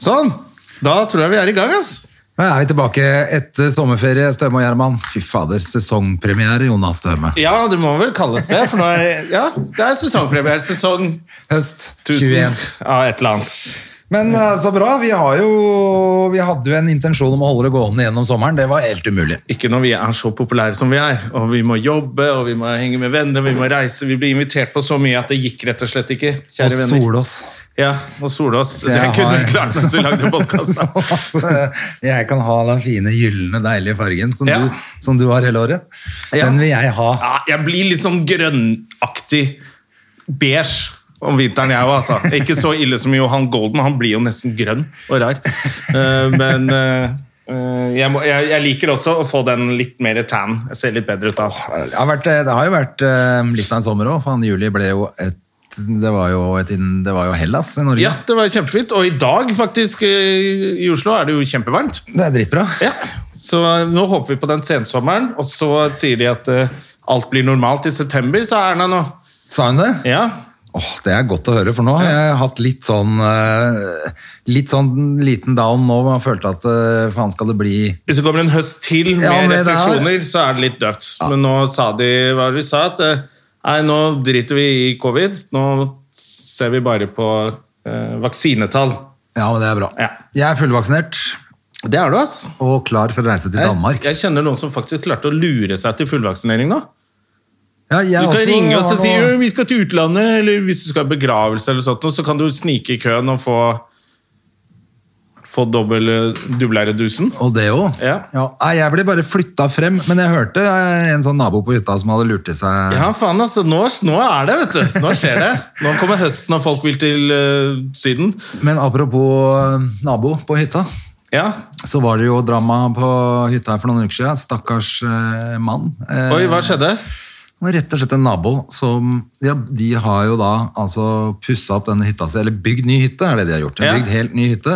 Sånn! Da tror jeg vi er i gang, ass. Nå er vi tilbake etter sommerferie, Støme og Gjerman. Fy fader, sesongpremiere, Jonas Støme. Ja, det må vel kalles det. For nå er, ja, det er sesongpremiere. Sesong Høst 1000. 21. Ja, et eller annet. Men eh, så bra. Vi, har jo, vi hadde jo en intensjon om å holde det gående gjennom sommeren. Det var helt umulig. Ikke når vi er så populære som vi er. Og vi må jobbe, og vi må henge med venner, vi må reise. Vi blir invitert på så mye at det gikk rett og slett ikke. Og Kjære venner. Solås. Ja, og Solås. Så Det jeg kunne har- vi klart mens vi lagde podkast. Så at, eh, jeg kan ha den fine, gylne, deilige fargen som, Ja. du, som du har hele året. Ja. Den vil jeg ha. Ja, jeg blir litt sånn grønnaktig beige om vinteren, jeg òg, altså. Ikke så ille som Johan Golden. Han blir jo nesten grønn og rar. Eh, Men eh, eh, jeg, må, jeg, jeg liker også å få den litt mer tan. Jeg ser litt bedre ut da. Det har, vært, eh, det har jo vært eh, litt av en sommer òg. Faen, juli ble jo et Det var jo, et, inn- det var jo Hellas i Norge. Ja, det var kjempefint. Og i dag, faktisk, eh, i Oslo er det jo kjempevarmt. Det er dritbra. Ja, så eh, nå håper vi på den sensommeren, og så sier de at eh, alt blir normalt i september, sa Erna nå. Sa hun det? Ja, Åh, Det er godt å høre, for nå har jeg hatt litt sånn eh, Litt sånn liten down nå. Man følte at eh, faen, skal det bli hvis det kommer en høst til med, Ja, med det her. restriksjoner, så er det litt døvt. Men nå sa de hva var det vi sa, at eh, nei, nå driter vi i covid, nå ser vi bare på eh, vaksinetall. Ja, men det er bra. Ja. Jeg er fullvaksinert Det er du, ass. og klar for å reise til Jeg, Danmark. jeg kjenner noen som faktisk klarte å lure seg til fullvaksinering nå. Ja, jeg Du kan også ringe oss har og si noe- «Jo, vi skal til utlandet, eller hvis du skal ha begravelse, eller sånt, noe, så kan du snike i køen og få, få dobbel eh, dubleredusen. Og det òg. Ja. Nei, jeg ble bare flytta frem, men jeg hørte eh, en sånn nabo på hytta som hadde lurt til seg Ja, faen, altså. Nå, nå er det, vet du. Nå skjer det. Nå kommer høsten, og folk vil til eh, Syden. Men apropos eh, nabo på hytta. Ja. Så var det jo drama på hytta her for noen uker siden. Stakkars eh, mann. Eh, Oi, hva skjedde? Det er Rett og slett en nabo som ja, De har jo da altså pussa opp denne hytta si, eller bygd ny hytte, er det de har gjort. De Ja. har Bygd helt ny hytte.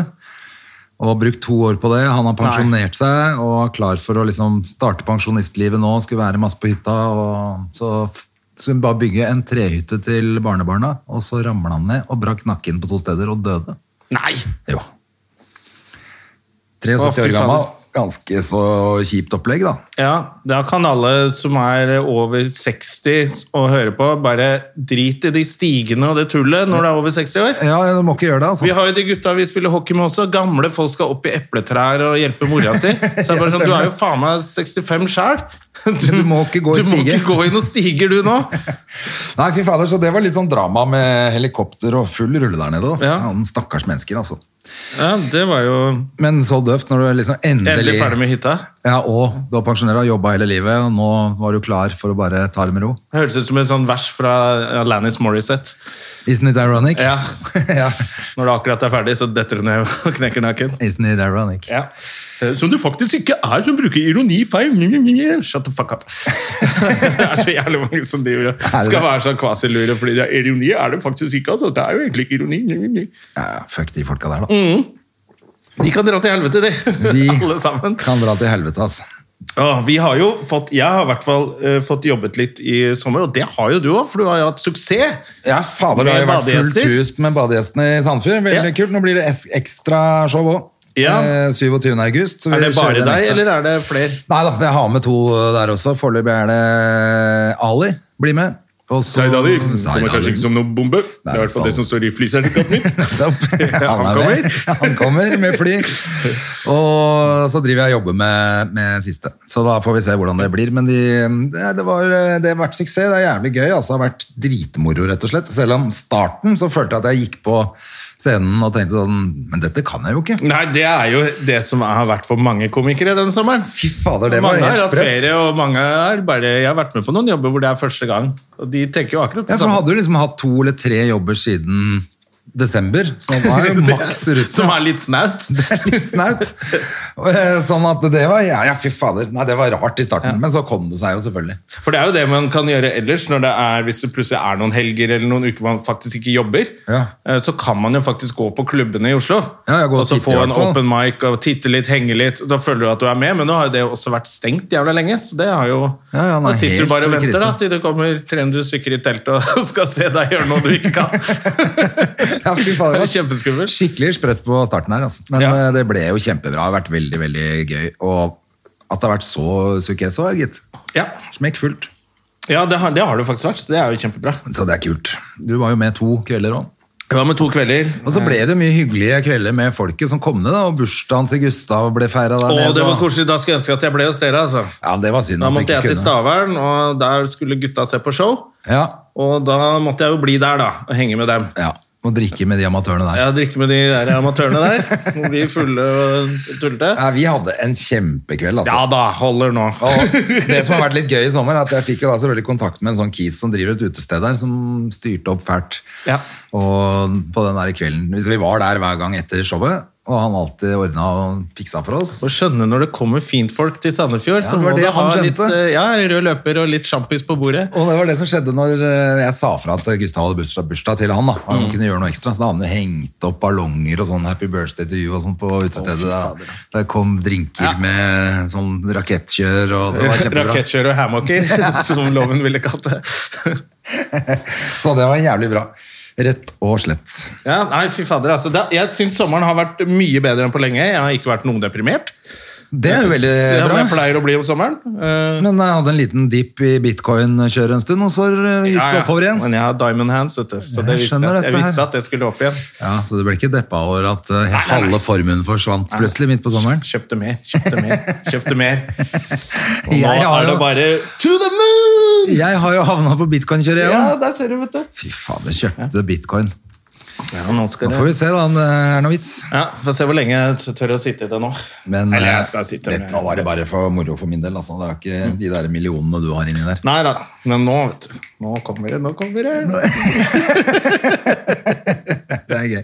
Og brukt to år på det. Han har pensjonert seg og er klar for å liksom starte pensjonistlivet nå. Skulle være masse på hytta. Og så f- skulle hun bare bygge en trehytte til barnebarna, og så ramla han ned og brakk nakken på to steder og døde. Nei! Jo. Å, 73 fy år fader. gammel. Ganske så kjipt opplegg, da. Ja, da kan alle som er over 60 og hører på, bare drit i de stigene og det tullet når du er over 60 år. Ja, du må ikke gjøre det, altså. Vi har jo de gutta vi spiller hockey med også. Gamle folk skal opp i epletrær og hjelpe mora si. Så jeg bare sånn, Du er jo faen meg 65 sjæl. Du, Du må ikke gå i du må stiger. ikke gå i noen stiger, du nå. Nei, fy fader, så det var litt sånn drama med helikopter og full rulle der nede. da. Ja. Faen, stakkars mennesker, altså. Ja, Det var jo Men så døvt når du liksom endelig, endelig ferdig med hytta. Ja, og du har pensjonert og jobba hele livet, og nå var du klar for å bare ta det med ro. Høres ut som en sånn vers fra Alanis Morissette. Isn't it ironic? Ja, Ja. Når det akkurat er ferdig, så detter du ned og knekker naken. Isn't it ironic? Ja. Eh, Som du faktisk ikke er, som bruker ironi feil. Nye, nye, nye. Shut the fuck up. det er så jævlig mange som driver og det skal det? være sånn kvasilure fordi det er ironi. Er det faktisk ikke, altså. Det er jo egentlig ikke ironi. Nye, nye, nye. Ja, fuck de folka der, Mm. da. De kan dra til helvete, de. De Alle sammen. kan dra til helvete, altså. Å, vi har jo fått, jeg har i hvert fall eh, fått jobbet litt i sommer, og det har jo du òg, for du har jo hatt suksess. Ja, fader, det har jo Med vært fullt badegjester. hus med badegjestene i Sandfjord. Veldig Ja. kult. Nå blir det es- ekstra show òg. Ja. 27. august. så vi Er det kjører bare en deg, ekstra. eller er det flere? Nei da, jeg har med to eh, der også. Foreløpig er det eh, Ali blir med. Og så- Zaid Ali. som noen bombe. Det er i hvert fall det som står i flysertifikatet mitt. Han, Han er kommer. med. Han kommer med fly. Og så driver jeg og jobber med, med siste. Så da får vi se hvordan det blir. Men de, det, det, var, eh, det har vært suksess. Det er jævlig gøy. Altså, det har vært dritmoro, rett og slett. Selv om starten så følte jeg at jeg gikk på scenen og tenkte sånn Men dette kan jeg jo ikke. Nei, det er jo det som har vært for mange komikere denne sommeren. Fy fader, det var mange har helt hatt sprøtt. ferie, og mange har bare Jeg har vært med på noen jobber hvor det er første gang, og de tenker jo akkurat Ja, det for du samme. hadde jo liksom hatt to eller tre jobber siden desember, så nå er det maks russen. Som er litt snaut. litt snaut. Eh, Sånn at det var ja, ja, fy fader. Nei, det var rart i starten, men så kom det seg jo selvfølgelig. For det er jo det man kan gjøre ellers, når det er, hvis det plutselig er noen helger eller noen uker man faktisk ikke jobber. Ja. eh, Så kan man jo faktisk gå på klubbene i Oslo Ja, ja, gå og og så titte få i hvert en fall. open mic og titte litt, henge litt. Da føler du at du er med, men nå har jo det også vært stengt jævla lenge. Så det har jo Ja, ja, den er Da sitter helt du bare og over venter krisen. da, til det kommer 300 stykker i teltet og skal se deg gjøre noe du ikke kan. Ja, fy fader, det det er kjempeskummelt. Skikkelig sprøtt på starten her, altså. Men Ja. eh, det ble jo kjempebra. Det har vært veldig, veldig gøy. Og at det har vært så sukeso, gitt. Ja, Smekkfullt. ja det, har, det har det jo faktisk vært. Så det er jo kjempebra. Så det er kult. Du var jo med to kvelder òg. Det var med to kvelder. Og så ble det mye hyggelige kvelder med folket som kom ned, da. Og bursdagen til Gustav ble feira der Å, nede, det var og- koselig. Da skulle jeg ønske at jeg ble hos dere, altså. Ja, det var synd Da at du måtte ikke jeg til kunne. Stavern, og der skulle gutta se på show. Ja, Og da måtte jeg jo bli der, da, og henge med dem. ja. Og drikke med de amatørene der. Jeg drikker med de der amatørene der. og Vi fulle og tullete. Ja, vi hadde en kjempekveld, altså. Ja da, holder nå. Og det som har vært litt gøy i sommer, er at jeg fikk jo da selvfølgelig kontakt med en sånn kis som driver et utested der, som styrte opp fælt. Ja. Og på den der kvelden, hvis vi var der hver gang etter showet, og han alltid ordna og fiksa for oss. Å skjønne når det kommer fintfolk til Sandefjord, så det var må det du ha han litt skjønte. eh, ja, rød løper og litt sjampis på bordet. Og det var det som skjedde når eh, jeg sa fra at Gustav hadde bursdag, bursdag til han. da og Mm. Han kunne gjøre noe ekstra, så da hadde han jo hengt opp ballonger og sånn 'Happy birthday to you' og sånn på utestedet. da. altså. Der kom drinker med sånn rakettkjør, og det var kjempebra. Rakettkjører og hammocker, som loven ville kalt det. Så det var jævlig bra. Rett og slett. Ja, nei, fy fader, altså. Da, jeg syns sommeren har vært mye bedre enn på lenge. Jeg har ikke vært noe deprimert. Det er jo veldig Selv om bra. jeg pleier å bli om sommeren. Eh, Men jeg hadde en liten dip i bitcoin-kjøret en stund, og så eh, gikk det oppover igjen. Men jeg har diamond hands, vet du. Så Jeg det visste skjønner jeg. jeg dette her. visste at det skulle opp igjen. Ja, Så du ble ikke deppa over at eh, halve formuen forsvant plutselig midt på sommeren? Kjøpte mer, kjøpte mer, kjøpte mer. Og nå Jeg har er det jo- bare to the moon! Jeg har jo havna på bitcoin-kjøret, jeg Ja, òg. der ser du, vet du. Fy faen, jeg kjøpte bitcoin. Ja, nå skal Nå får det... vi se da om det er noe vits. Ja, Få se hvor lenge jeg tør å sitte i det nå. Men Eller eh, jeg skal sitte det, med- Mm. nå var det bare for moro for min del. Altså. Det er ikke de der millionene du har inni der. Nei da, men nå, vet du. Nå kommer det, nå kommer det. Det er gøy.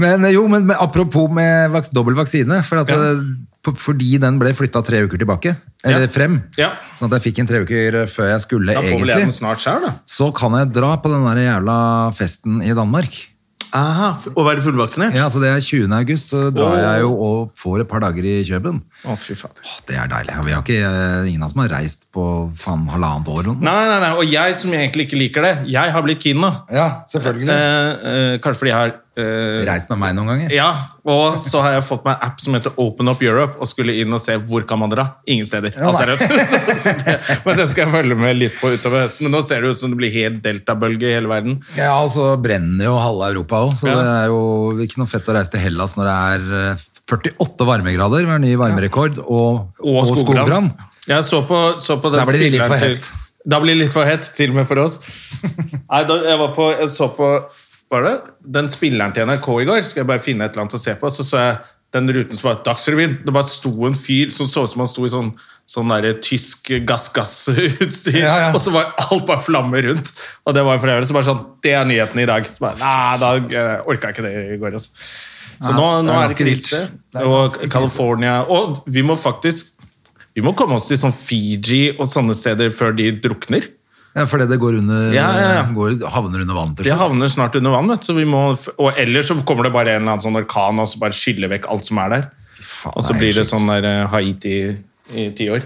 Men eh, jo, men med, apropos med vaks, dobbel vaksine. For at, Ja. eh, på- Fordi den ble flytta tre uker tilbake. Eller Ja. frem. Ja. Sånn at jeg fikk en tre uker før jeg skulle, Da får vel jeg den egentlig. snart sjøl, da. Så kan jeg dra på den der jævla festen i Danmark. Aha, Å være fullvaksinert? Ja, så Det er 20. august, så drar Åh. jeg jo og får et par dager i København. Å, fy fader. Åh, Det er deilig. Vi har ikke, eh, ingen av oss som har reist på faen halvannet år. eller noe. Nei, nei, nei, og jeg som egentlig ikke liker det, jeg har blitt keen nå. Ja, selvfølgelig. Eh, eh, kanskje fordi jeg har eh, Reist med meg noen ganger. Ja, og så har jeg fått meg en app som heter Open Up Europe, og skulle inn og se hvor kan man dra. Ingen steder. Ja, Alt er nei. rødt. Så, så det, men det skal jeg følge med litt på utover høsten. Men nå ser det ut som det blir helt deltabølge i hele verden. Ja, og så brenner jo halve Europa òg, så Ja. det er jo ikke noe fett å reise til Hellas når det er eh, 48 varmegrader, vi har ny varmerekord, og, Og, skogbrann. Jeg så på, så på den Da blir det litt spilleren for til- hett. Da blir det litt for hett, til og med for oss. Nei, da, jeg, var på, jeg så på var det? den spilleren til NRK i går. Skal jeg bare finne et eller annet å se på. Så så jeg den ruten som var Dagsrevyen. Det bare sto en fyr som så ut som han sto i sånn Sånn der tysk gass-gass-utstyr, Ja, ja. og så var alt bare flammer rundt. Og det var for øvrig så bare sånn Det er nyheten i dag. Så bare, Nei, da eh, orka jeg ikke det i går, altså. Så Nei, nå, det er nå er det ganske vilt. krise. Det er Og ganske krise. California Og vi må faktisk vi må komme oss til sånn Fiji og sånne steder før de drukner. Ja, fordi det går under, Ja, ja, ja. Går, havner under vann til De slutt. havner snart under vann, vet du. så vi må, og ellers så kommer det bare en eller annen sånn orkan og så bare skyller vekk alt som er der. faen, og så det er blir det helt sånn der eh, Haiti i ti år.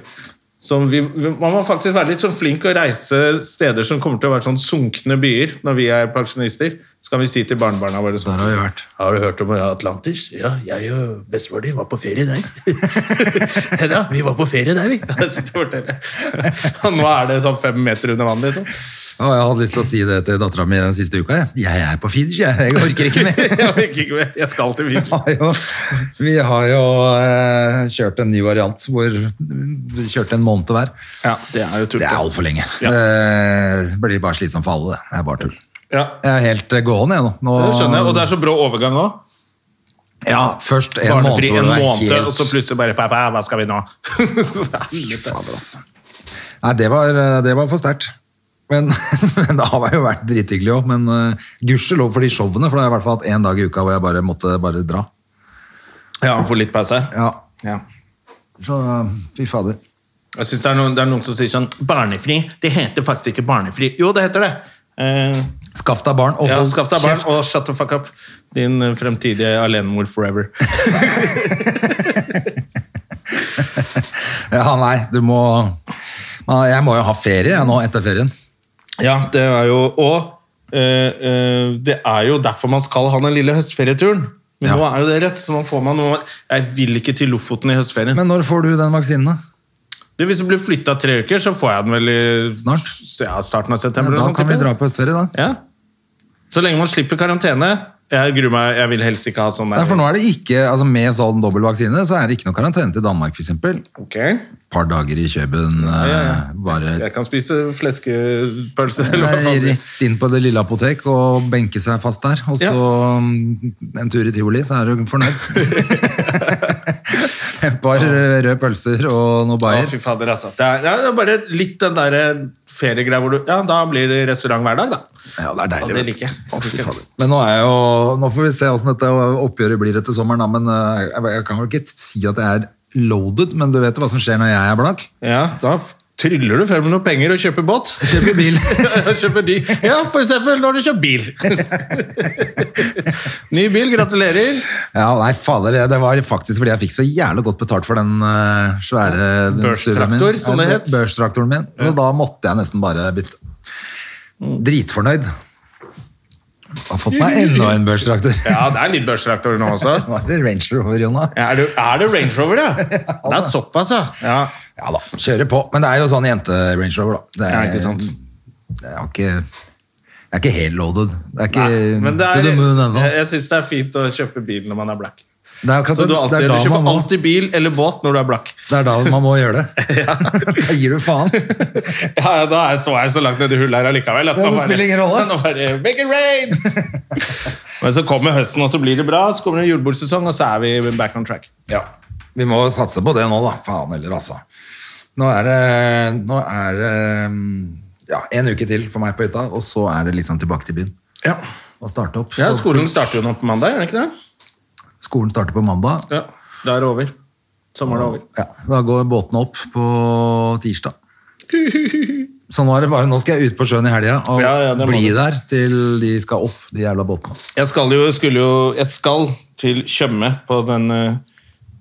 Så vi, vi, man må faktisk være litt sånn flink å reise steder som kommer til å være sånn sunkne byer når vi er pensjonister. Så kan vi si til barnebarna våre sånn Der har vi vært. Har du hørt om Atlantis? Ja, jeg og bestefar din var på ferie der. ja, vi var på ferie der, vi. Jeg sitter og forteller. Og nå er det sånn fem meter under vann, liksom. Å, jeg hadde lyst til å si det til dattera mi den siste uka. Jeg, jeg er på Fiji, jeg. jeg orker ikke mer. Jeg orker ikke mer. Jeg skal til Fiji. har jo, vi har jo eh, kjørt en ny variant hvor vi kjørte en måned hver. Ja, det er jo tull. Det er altfor lenge. Ja. Det blir bare slitsomt for alle. det. Det er bare tull. Ja, Jeg er helt eh, gående, jeg nå. nå. det skjønner jeg. Og det er så brå overgang òg. ja, først en måned Barnefri hvor en det er måned, altså. helt og så plutselig bare Pappa, hva skal vi nå? Helvete. Fader, altså. Nei, det var, det var eh, for sterkt. Og Men, men det har jo vært drithyggelig òg. Men uh, gudskjelov for de showene, for det har i hvert fall hatt én dag i uka hvor jeg bare måtte bare dra. Ja, får litt pause. Ja, Ja. så eh, fy fader. Jeg synes det er, noen, det er noen som sier sånn Barnefri. Det heter faktisk ikke barnefri. Jo, det heter det. Eh, Skaff deg barn og ja, hold Skaff deg barn kjeft. og shut the fuck up. Din eh, fremtidige alenemor forever. Ja, nei, du må Man- Jeg må jo ha ferie jeg nå etter ferien. Ja, det er jo Og eh, eh, det er jo derfor man skal ha den lille høstferieturen. Men Ja. nå er jo det rett, så nå får man noe Jeg vil ikke til Lofoten i høstferien. Men når får du den vaksinen, da? du, hvis det blir flytta tre uker, så får jeg den vel i Snart? Ja, starten av Ja, september. da eller kan vi sånn, dra på høstferie, da. Ja. Så lenge man slipper karantene. Jeg gruer meg, jeg vil helst ikke ha sånn Nei, for nå er det ikke, altså Med sånn dobbel vaksine så er det ikke noe karantene til Danmark, f.eks. Et Ok. par dager i Kjøben, ja, ja. eh, bare Jeg kan spise fleskepølse eller hva Nei, faen. det er. rett inn på det lille apotek og benke seg fast der. Og så mm, en tur i tivoli, så er du fornøyd. Et par eh, røde pølser og noe Å, bayer. fy fader, altså. Det er, ja, det er bare litt den der feriegreia hvor du Ja, da blir det restaurant hver dag, da. Ja, det er Ja, deilig. det vet liker jeg. du. Å, fy fader. Men nå, er jeg jo, nå får vi se hvordan dette oppgjøret blir etter sommeren, da. Men eh, jeg, jeg kan jo ikke si at jeg er loaded, men du vet jo hva som skjer når jeg er blank. Ja, da f- tryller du frem med noen penger og kjøper båt. Kjøper bil. kjøper ny. Ja, for eksempel når du kjøper bil. Ny bil, gratulerer. Ja, nei, fader, det var faktisk fordi jeg fikk så jævlig godt betalt for den eh, svære den Børstraktor, SUV-en min. som det Ja, het. Børstraktoren min. Og da måtte jeg nesten bare bytte. Dritfornøyd. Har fått meg enda en børstraktor. Ja, det er litt børstraktor nå også. Nå er det Range Rover, Jonna. Ja, Er det, er det Range Rover, ja? Det er såpass, ja. ja. Ja da, kjører på. Men det er jo sånn jente-Range Rover, da. Det er, Ja, ikke sant. Jeg er ikke, jeg er ikke helt loaded. Det er ikke Nei, men det to er, the moon ennå. jeg, jeg syns det er fint å kjøpe bil når man er black. Det er akkurat Så du, det. Det alltid, er du da kjøper man må- alltid bil eller båt når du er black. det er da man må gjøre det. Da gir du faen. Ja, ja, da er- står jeg så langt nedi hullet her allikevel. at Ja, det nå bare- spiller ingen rolle. nå bare, Make it rain! Men så kommer høsten, og så blir det bra. Så kommer det julebordsesong, og så er vi back on track. Ja. Vi må satse på det nå, da. Faen heller, altså. Nå er det, nå er det mm, ja, en uke til for meg på hytta, og så er det liksom tilbake til byen. Ja. Og starte opp. Så Skolen starter jo nå på mandag, gjør den ikke det? skolen starter på mandag. Ja, Da er det over. Sommeren er over. Ja, da går båtene opp på tirsdag. Så nå er det bare, nå skal jeg ut på sjøen i helga og Ja, ja, det må bli du. der til de skal opp, de jævla båtene. Jeg skal jo, skulle jo Jeg skal til Tjøme på den eh,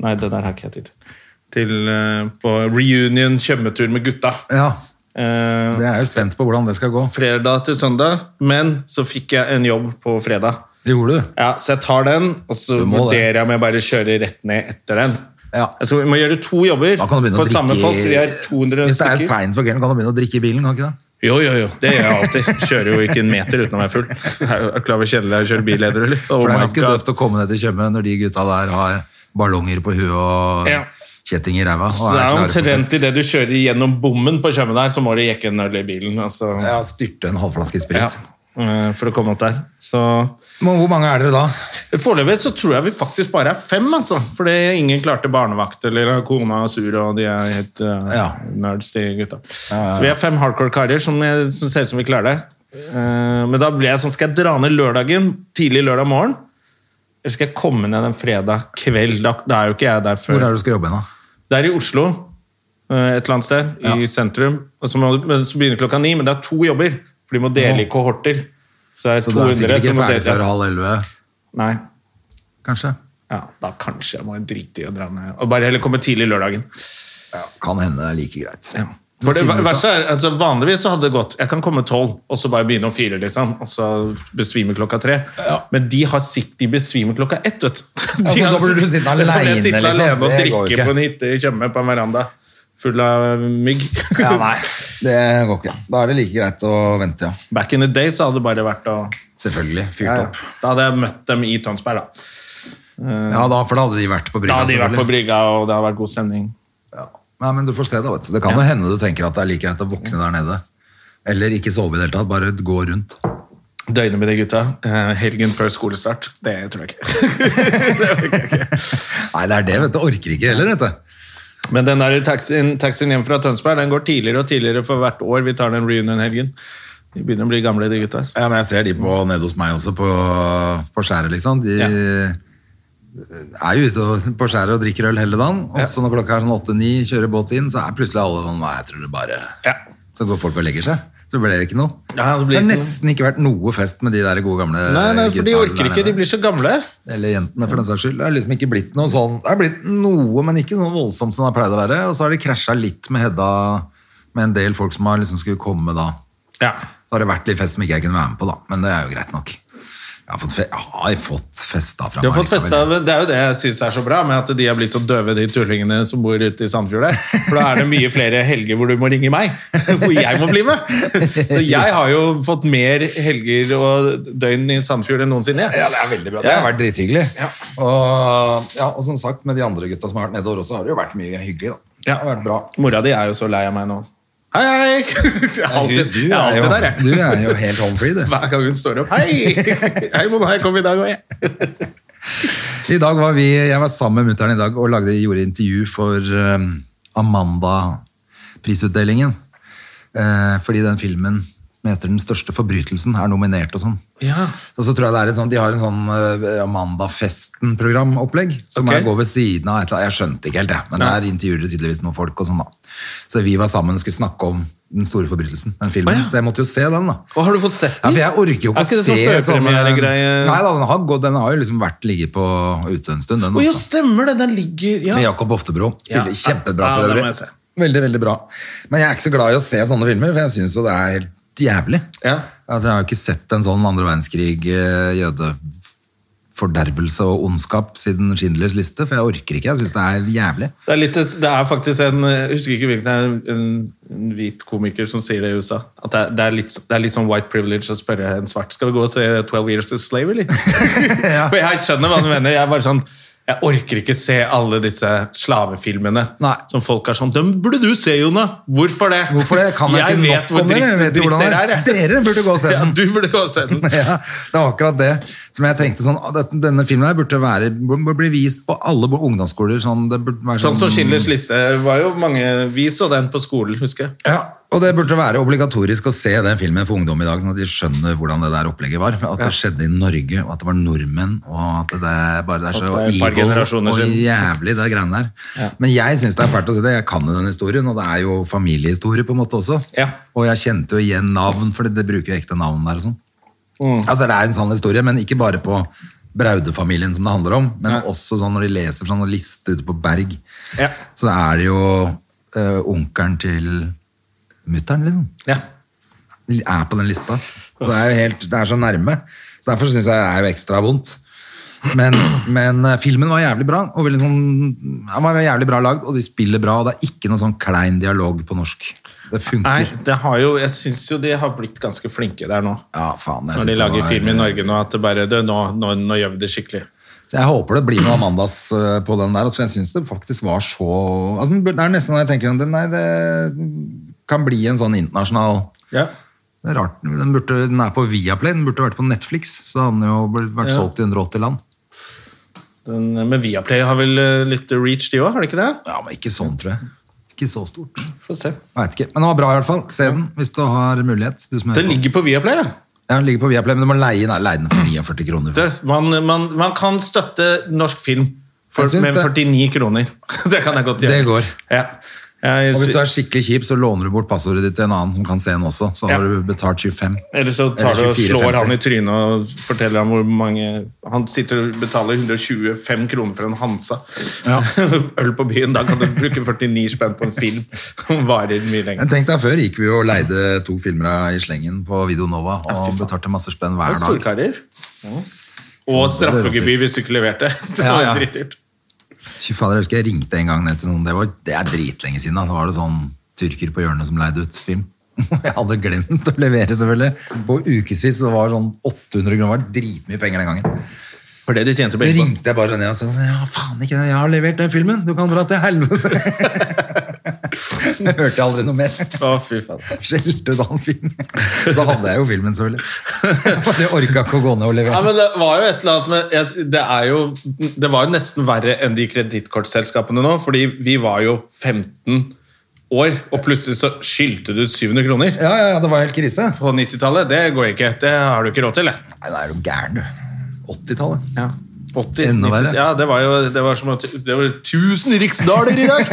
Nei, det der har ikke jeg tid til. Til, eh, på reunion Tjøme-tur med gutta. Ja, Eh, jeg er jo spent på hvordan det skal gå. fredag til søndag, men så fikk jeg en jobb på fredag. Det gjorde du. Ja, Så jeg tar den, og så Du må det. vurderer jeg om jeg bare kjører rett ned etter den. Ja. Jeg skal, vi må gjøre to jobber Da kan du for begynne å drikke samme folk. Vi er 200 Hvis det er stykker. seint på kvelden, kan du begynne å drikke i bilen, kan du ikke det? Jo, jo, jo. Det gjør jeg alltid. Kjører jo ikke en meter uten å være full. Det er jo klar over kjedelig det er å kjøre bil, eller? Oh For det er my ganske God. døvt å komme ned til Tjøme når de gutta der har ballonger på huet og Ja. kjetting i ræva. og Så det er klare for fest. omtrent idet du kjører gjennom bommen på Tjøme der, så må du jekke en øl i bilen. Altså, Ja, styrte en halvflaske sprit. eh, For å komme opp der. Så Men hvor mange er dere da? Foreløpig så tror jeg vi faktisk bare er fem, altså. Fordi ingen klarte barnevakt, eller kona er sur, og de er helt eh, Ja. nerds, de gutta. Så vi er fem hardcore karer som, eh, som ser ut som vi klarer det. Eh, men da ble jeg sånn, skal jeg dra ned lørdagen, tidlig lørdag morgen? Eller skal jeg komme ned en fredag kveld? Da, da er jo ikke jeg der før. Hvor er det du skal jobbe hen, da? Det er i Oslo, eh, et eller annet sted, i sentrum. Og så, må, men så begynner klokka ni, men det er to jobber, for de må dele i kohorter. Så det er Så du 200 er sikkert som ikke må ferdig før dele. halv elleve, Nei, kanskje? ja, da kanskje jeg må drite i å dra ned. Og bare heller komme tidlig lørdagen. Kan hende det er like greit. For det Finner ut av. verste er, altså Vanligvis så hadde det gått Jeg kan komme tolv, og så bare begynne om fire, liksom. Og så besvime klokka tre. Men de har sitt, de besvimer klokka ett, vet du. De Ja, har for da blir du sitt- Da sittende blir jeg alene, sittende liksom. alene og Det går drikke ikke. på en hytte i Tjøme på en veranda full av mygg. Ja, nei, det går ikke. Da er det like greit å vente, ja. Back in the day så hadde det bare vært å Selvfølgelig. Fyrt ja, ja. opp. Da hadde jeg møtt dem i Tønsberg, da. Ja, da, for da hadde de vært på brygga. Da hadde de vært på selvfølgelig. brygga, og det hadde vært god stemning. Ja. Nei, men du får se, da. vet du. Det kan jo hende du tenker at det er like greit å våkne der nede. Eller ikke sove i det hele tatt, bare gå rundt. Døgnet med de gutta. Eh, helgen før skolestart. Det tror jeg ikke. Nei, det er det, vet du. Orker ikke heller, vet du. Men den der taxien, taxien hjem fra Tønsberg den går tidligere og tidligere for hvert år vi tar den reunion-helgen. De begynner å bli gamle, de gutta. ass. Ja, men jeg ser de på, nede hos meg også, på, på skjæret, liksom. De Ja. er jo ute og, på skjæret og drikker øl hele dagen, og så når klokka er sånn åtte-ni, kjører båt inn, så er plutselig alle sånn Nei, jeg tror det bare Ja. Så går folk og legger seg. Så blir det ikke noe. Ja, så blir det det har ikke noe. nesten ikke vært noe fest med de der gode gamle Nei, nei, for de gutta orker der ikke. De nede. blir så gamle. Eller jentene, for den saks skyld. Det har liksom ikke blitt noe sånn Det har blitt noe, men ikke sånn voldsomt som det har pleid å være. Og så har de krasja litt med Hedda, med en del folk som har liksom skulle komme da. Ja. Så har det vært litt fest som ikke jeg kunne være med på, da. Men det er jo greit nok. Jeg har fått, fe jeg har fått festa fra liksom. De har fått likevel. festa, men det er jo det jeg syns er så bra, med at de har blitt så døve, de tullingene som bor ute i Sandfjord der. For da er det mye flere helger hvor du må ringe meg, hvor jeg må bli med. Så jeg har jo fått mer helger og døgn i Sandfjord enn noensinne. jeg. Ja, det er veldig bra. Det har vært drithyggelig. Ja. Og, ja, og som sagt, med de andre gutta som har vært nedover også, har det jo vært mye hyggelig, da. Ja. Det har vært bra. Mora di er jo så lei av meg nå. Hei, hei! Jeg er alltid, du, jeg er er jo, alltid der, jeg. du er jo helt home free, du. Hver gang hun står opp. Hei! Hei, Mona, jeg kom i dag òg, jeg. I dag var vi, jeg var sammen med mutter'n i dag og lagde, gjorde intervju for eh, Amanda-prisutdelingen. Eh, fordi den filmen som heter 'Den største forbrytelsen' er nominert og sånn. Ja. Og så tror jeg det er et sånt, De har en sånn eh, Amanda-festen-programopplegg. Som Ok. er- går ved siden av et eller annet. Jeg skjønte ikke helt det, men Nei. der intervjuer de tydeligvis noen folk. og sånn da. Så vi var sammen og skulle snakke om Den store forbrytelsen, den filmen. Å, ja. Så jeg måtte jo se den, da. Og har du fått sett Ja, den? for jeg orker jo ikke, Er ikke å det sånn se sånne førpremieregreie? Nei da, den har, gått, den har jo liksom vært ligget på ute en stund, den Å, jo, også. stemmer det! Den ligger Med ja. Jakob Oftebro. Ja. Spiller Kjempebra Ja, for den må øvrig. jeg se. Veldig, veldig bra. Men jeg er ikke så glad i å se sånne filmer, for jeg syns jo det er helt jævlig. Ja. Altså, jeg har jo ikke sett en sånn andre verdenskrig, eh, jødefordervelse og ondskap siden Schindlers liste, for jeg orker ikke. Jeg syns det er jævlig. Det er, litt, det er faktisk en Jeg husker ikke hvilken det er, en, en hvit komiker som sier det i USA. At det er, det, er litt, det er litt sånn white privilege å spørre en svart Skal vi gå og se 12 Years a Slave, eller? For jeg skjønner hva du mener. Jeg er bare sånn jeg orker ikke se alle disse slavefilmene Nei. som folk er sånn Dem burde du se, Jonah! Hvorfor det? Hvorfor det? Kan jeg, ikke vet nok hvor om det? dritt, Jeg vet jo dritt hvordan det dere er. jeg. Dere burde gå og se Ja, den. du burde gå og se den. Ja, det var akkurat det som jeg tenkte sånn, «Å, dette- Denne filmen her burde, være, burde bli vist på alle ungdomsskoler. Sånn, det burde være Sånn som Schindlers liste var jo mange Vi så den på skolen, husker jeg. Ja, og det burde være obligatorisk å se den filmen for ungdom i dag, sånn at de skjønner hvordan det der opplegget var. At det skjedde i Norge, og at det var nordmenn, og at det bare det er så At det er et par evil generasjoner og siden. jævlig, det greiene der. Men jeg syns det er fælt å se det. Jeg kan jo den historien, og det er jo familiehistorie på en måte også. Ja. Og jeg kjente jo igjen navn, for det bruker jo ekte navn der og sånn. Mm. Altså det er en sann historie, men ikke bare på Braude-familien som det handler om, men også sånn når de leser fra noen liste ute på Berg, Ja. så er det jo eh, onkelen til mutteren, liksom Ja. er på den lista. Så det er jo helt, det er så nærme. Så derfor syns jeg det er jo ekstra vondt. Men, men eh, filmen var jævlig bra, og veldig sånn, den var jævlig bra lagd, og de spiller bra, og det er ikke noe sånn klein dialog på norsk. Det Nei, funker. det har jo, jeg syns jo de har blitt ganske flinke der nå. Ja, faen, jeg Når synes de det lager var- eh, film i Norge nå, at det bare det, nå, nå, nå gjør vi det skikkelig. Så jeg håper det blir noe Amandas eh, på den der, altså, for jeg syns det faktisk var så altså, Det er nesten når jeg tenker om det, nei, det kan bli en sånn internasjonal Ja. det er rart, den, burde, den er på Viaplay, den burde vært på Netflix, så da hadde den jo blitt- vært Ja. solgt i 180 land. Den, men Viaplay har vel eh, litt reach, de òg? Har de ikke det? Ja, men ikke sånn, tror jeg. Ikke så stort. Få se. Jeg vet ikke. Men det var bra, i hvert fall. Se den hvis du har mulighet. Du som Så den hører på. ligger på Viaplay, ja. Ja, den ligger på Viaplay, men du må leie den, leie den for 49 kroner. Det, man, man, man kan støtte norsk film for, Jeg syns med det. 49 kroner. Det kan jeg godt gjøre. Det går. Ja. Jeg, Og hvis du er skikkelig kjip, så låner du bort passordet ditt til en annen som kan se den også. Så har Ja. du betalt 25. Eller så tar Eller du og 24,50. slår han i trynet og forteller ham hvor mange Han sitter og betaler 125 kroner for en Hansa. Øl på byen. Da kan du bruke 49 spenn på en film som varer mye lenger. Men tenk deg, før gikk vi jo og leide to filmer i slengen på Videonova, og fy faen. betalte masse spenn Det er hver dag. Storkarer. Sånn, Og straffegebyr hvis du ikke leverte. Det Ja, var ja. drittdyrt. Fy fader, jeg husker jeg ringte en gang ned til noen, det, var, det er dritlenge siden, da. Da var det sånn tyrker på hjørnet som leide ut film. Jeg hadde glemt å levere, selvfølgelig. På ukevis så var det sånn 800 kroner, det var dritmye penger den gangen. For det de tjente Så penger på. ringte jeg bare ned og sa sånn, ja faen ikke, det, jeg har levert den filmen, du kan dra til helvete. Jeg hørte aldri noe mer. Å, fy faen. Skjelte ut han fyren. Så hadde jeg jo filmen, selvfølgelig. Det orka ikke å gå ned Ja, og levere. men det var jo et eller annet med jeg- Det, er jo, det var jo nesten verre enn de kredittkortselskapene nå, fordi vi var jo 15 år, og plutselig så skyldte du ut 700 kroner. Ja, ja, ja, det var helt krise. På 90-tallet, det går ikke. Det har du ikke råd til. jeg. Nei, da er du gæren, du. 80-tallet. 80, Enda verre. 90, ja, det var jo det var som at Det var 1000 riksdaler i dag!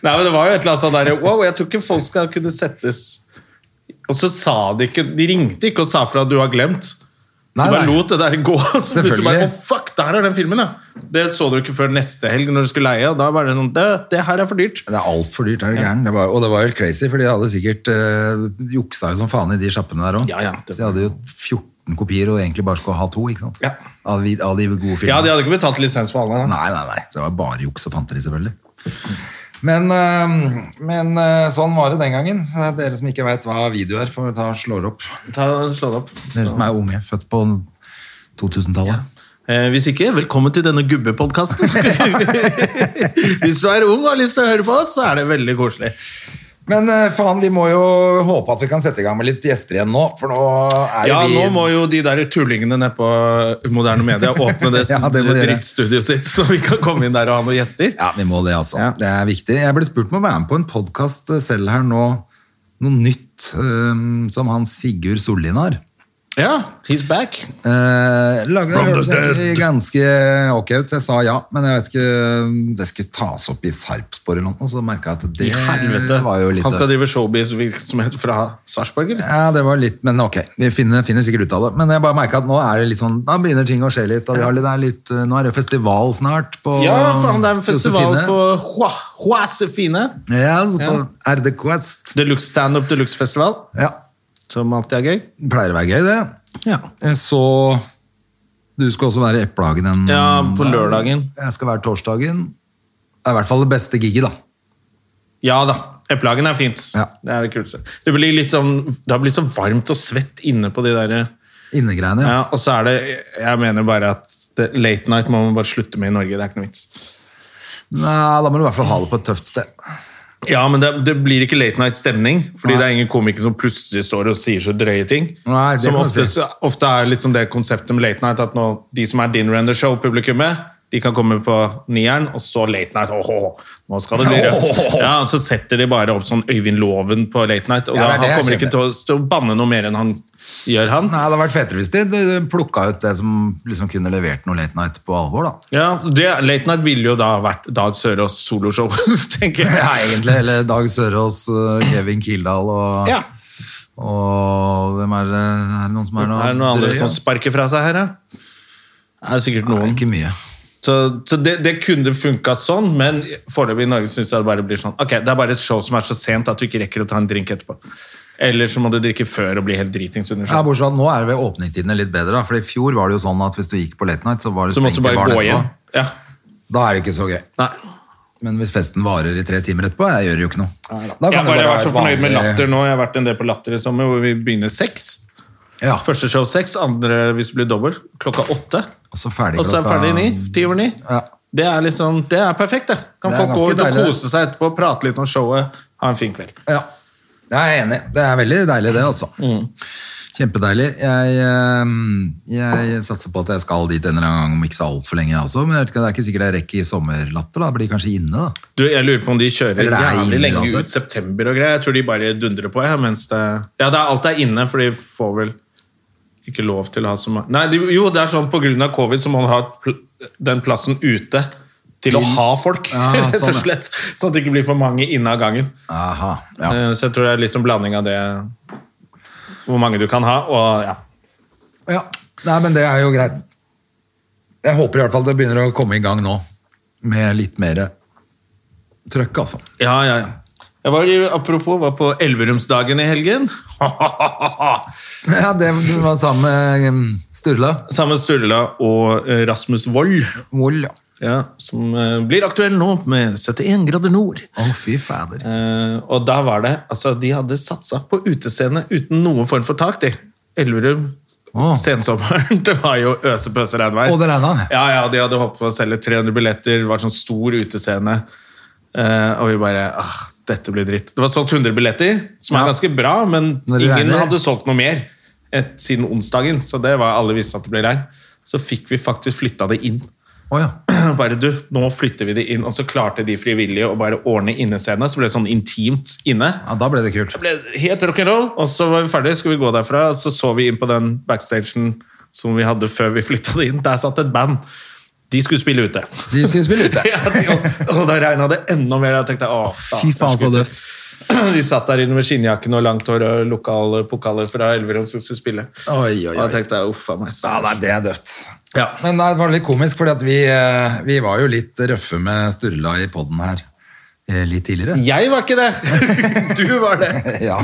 Nei, men det var jo et eller annet sånn der Wow, jeg tror ikke folk skal kunne settes Og så sa de ikke De ringte ikke og sa fra at du har glemt. Nei, du bare nei. lot det der gå. Så plutselig Selvfølgelig. Bare, «Å, fuck, der er den filmen, ja! Det så du ikke før neste helg når du skulle leie. Og da var det sånn Det, det her er for dyrt. Det er altfor dyrt, er du gæren. Det var, og det var helt crazy, for de hadde sikkert eh, juksa jo som faen i de sjappene der òg. Ja, ja, det- Så de hadde jo 14 kopier og egentlig bare skulle ha to, ikke sant? Ja. Av, vi- av de gode filmene. Ja, de hadde ikke betalt lisens for alle. Da. Nei, nei, nei. Det var bare juks og fanteri, selvfølgelig. Men, eh, men eh, sånn var det den gangen. Så Dere som ikke veit hva video er, får ta og slår opp. Ta, slå det opp. Dere som er unge, født på 2000-tallet. Eh, hvis ikke, velkommen til denne gubbepodkasten. hvis du er ung og har lyst til å høre på oss, så er det veldig koselig. Men eh, faen, vi må jo håpe at vi kan sette i gang med litt gjester igjen nå, for nå er Ja, jo vi nå må jo de der tullingene nede på moderne media åpne det, Ja, det må de gjøre. drittstudioet sitt, så vi kan komme inn der og ha noen gjester. Ja, vi må det, altså. Ja. Det er viktig. Jeg ble spurt om å være med på en podkast selv her nå. Noe nytt eh, som han Sigurd Sollien har. Ja, he's back. Uh, laget From the hørtes egentlig dead. ganske ok ut, så jeg sa ja. Men jeg vet ikke Det skulle tas opp i Sarpsborg eller noe, så merka jeg at det I helvete. var jo litt Han skal døvt. drive showbiz-virksomhet fra Sarpsborg, eller? Ja, det var litt, men ok. Vi finner, finner sikkert ut av det. Men jeg bare merka at nå er det litt sånn, da begynner ting å skje litt. og vi har litt, det er litt, eh, Nå er det festival snart på Ja, faen, det er en festival Josefine. på Hua- Huasefine. Yes, på Ja. RD Quest. Deluxe Stand-Up Deluxe Festival, Ja. som alltid er gøy. Pleier å være gøy, det. Ja, Jeg så Du skal også være i Eplehagen en på lørdagen. Jeg skal være torsdagen. Det er i hvert fall det beste gigget, da. Ja da. Eplehagen er fint. Ja. Det er det kuleste. Det blir litt sånn, det blir så varmt og svett inne på de der Innegreiene. ja, Ja. Og så er det Jeg mener bare at det, late night må man bare slutte med i Norge. Det er ikke noe vits. Nei, da må du i hvert fall ha det på et tøft sted. Ja, men det, det blir ikke late night-stemning, fordi det er ingen komikere som plutselig står og sier så drøye ting. Nei, det som kan du ofte, si. ofte er litt sånn det konseptet med late night, at nå, de som er dinner and the show-publikummet, de kan komme på nieren, og så late night. Åh, åh, åh, nå skal det bli røft. Ja, og så setter de bare opp sånn Øyvind Loven på late night, og Ja, det er da, det han jeg kommer ikke kjenner. til å, til å banne noe mer enn han gjør, han. Nei, Det hadde vært fetere hvis de du plukka ut det som liksom kunne levert noe late night på alvor. da Ja, det, late night ville jo da vært Dag Sørås soloshow, tenker jeg. ja, egentlig, Eller Dag Sørås, øh, Kevin Kildahl og, Ja. og hvem er det Er det noen som er noe Er det noen andre drøy, som ja? sparker fra seg her, da? Det er sikkert Nei, noen. Ikke mye. Så, så det, det kunne funka sånn, men foreløpig i Norge syns jeg det bare blir sånn Ok, det er bare et show som er så sent at du ikke rekker å ta en drink etterpå. Eller så må du drikke før og bli helt dritings under Ja, showet. Bortsett fra at nå er det ved åpningstidene litt bedre. da For i fjor var det jo sånn at hvis du gikk på late night, så var det Så måtte du stengt i bare baren gå etterpå. hjem. Ja. Da er det ikke så gøy. Nei. Men hvis festen varer i tre timer etterpå, jeg gjør jo ikke noe. Da Jeg kan har det bare være vært så et fornøyd med vanlig- latter nå. Jeg har vært en del på Latter i sommer, hvor vi begynner seks. Ja, Første show seks, andre hvis det blir dobbelt, klokka åtte. og så ferdig Og så er det klokka- ferdig ni. Ti over ni. Ja. Det er litt sånn, det er perfekt, det. Kan Det er folk gå ut ganske og deilig, det. kose seg etterpå, prate litt om showet, ha en fin kveld. Ja. Jeg er enig. Det er veldig deilig, det, altså. Mm. Kjempedeilig. Jeg, eh, jeg satser på at jeg skal dit en eller annen gang om ikke så altfor lenge, jeg også. Men jeg vet ikke, det er ikke sikkert jeg rekker i sommerlatter. da. Det blir kanskje inne, da. Du, jeg lurer på om de kjører Eller det er jævlig inne, lenge altså. ut september og greier. Jeg tror de bare dundrer på, ja, mens det... Ja, det er, alt er inne, for de får vel ikke lov til å ha så mange... Nei, de, jo, det er sånn, på grunn av covid så må man ha pl den plassen ute til å ha folk, Ja, rett sånn, og ja. slett. Sånn at det ikke blir for mange inne av gangen. Aha, ja. Eh, Så jeg tror det er litt sånn blanding av det, hvor mange du kan ha, og ja. ja. Nei, men det er jo greit. Jeg håper i hvert fall det begynner å komme i gang nå, med litt mer trøkk, altså. Ja, ja, ja. Jeg var, i- apropos, var på Elverumsdagen i helgen. Ja, det du var sammen med em, Sturla. Sammen med Sturla og eh, Rasmus Wold. Moll, ja. Ja, som eh, blir aktuell nå med 71 grader nord. Å, fy fader. Eh, og der var det Altså, de hadde satsa på utescene uten noen form for tak, de. Elverum. Å. Sensommeren. Det var jo øse-pøse regnvær. Og det regna. Ja, ja, de hadde håpet på å selge 300 billetter. Det var sånn stor utescene. Eh, og vi bare ah, Dette blir dritt. Det var solgt 100 billetter, som Ja. er ganske bra, men Når det ingen regner. hadde solgt noe mer et, siden onsdagen, så det var alle visste at det ble regn. Så fikk vi faktisk flytta det inn. Å ja. Bare du, nå flytter vi det inn, og så klarte de frivillige å bare ordne innescene, så ble det sånn intimt inne. ja, da ble det kult. Det ble helt rock'n'roll, og så var vi ferdige, skulle vi gå derfra, og så så vi inn på den backstagen som vi hadde før vi flytta det inn. Der satt et band. De skulle spille ute. De skulle spille ute. ja, de, og- og da regna det enda mer. og Jeg tenkte, å, Fy faen, så døvt. De satt der inne med skinnjakken og langt hår og lokale pokaler fra Elverum som skulle spille. Oi, oi, oi. Og da tenkte jeg, uff a meg. Ja, stakkars. nei, det er dødt. Men nei, det var litt komisk, fordi at vi, eh, vi var jo litt røffe med Sturla i podden her eh, litt tidligere. Jeg var ikke det! Du var det. Ja.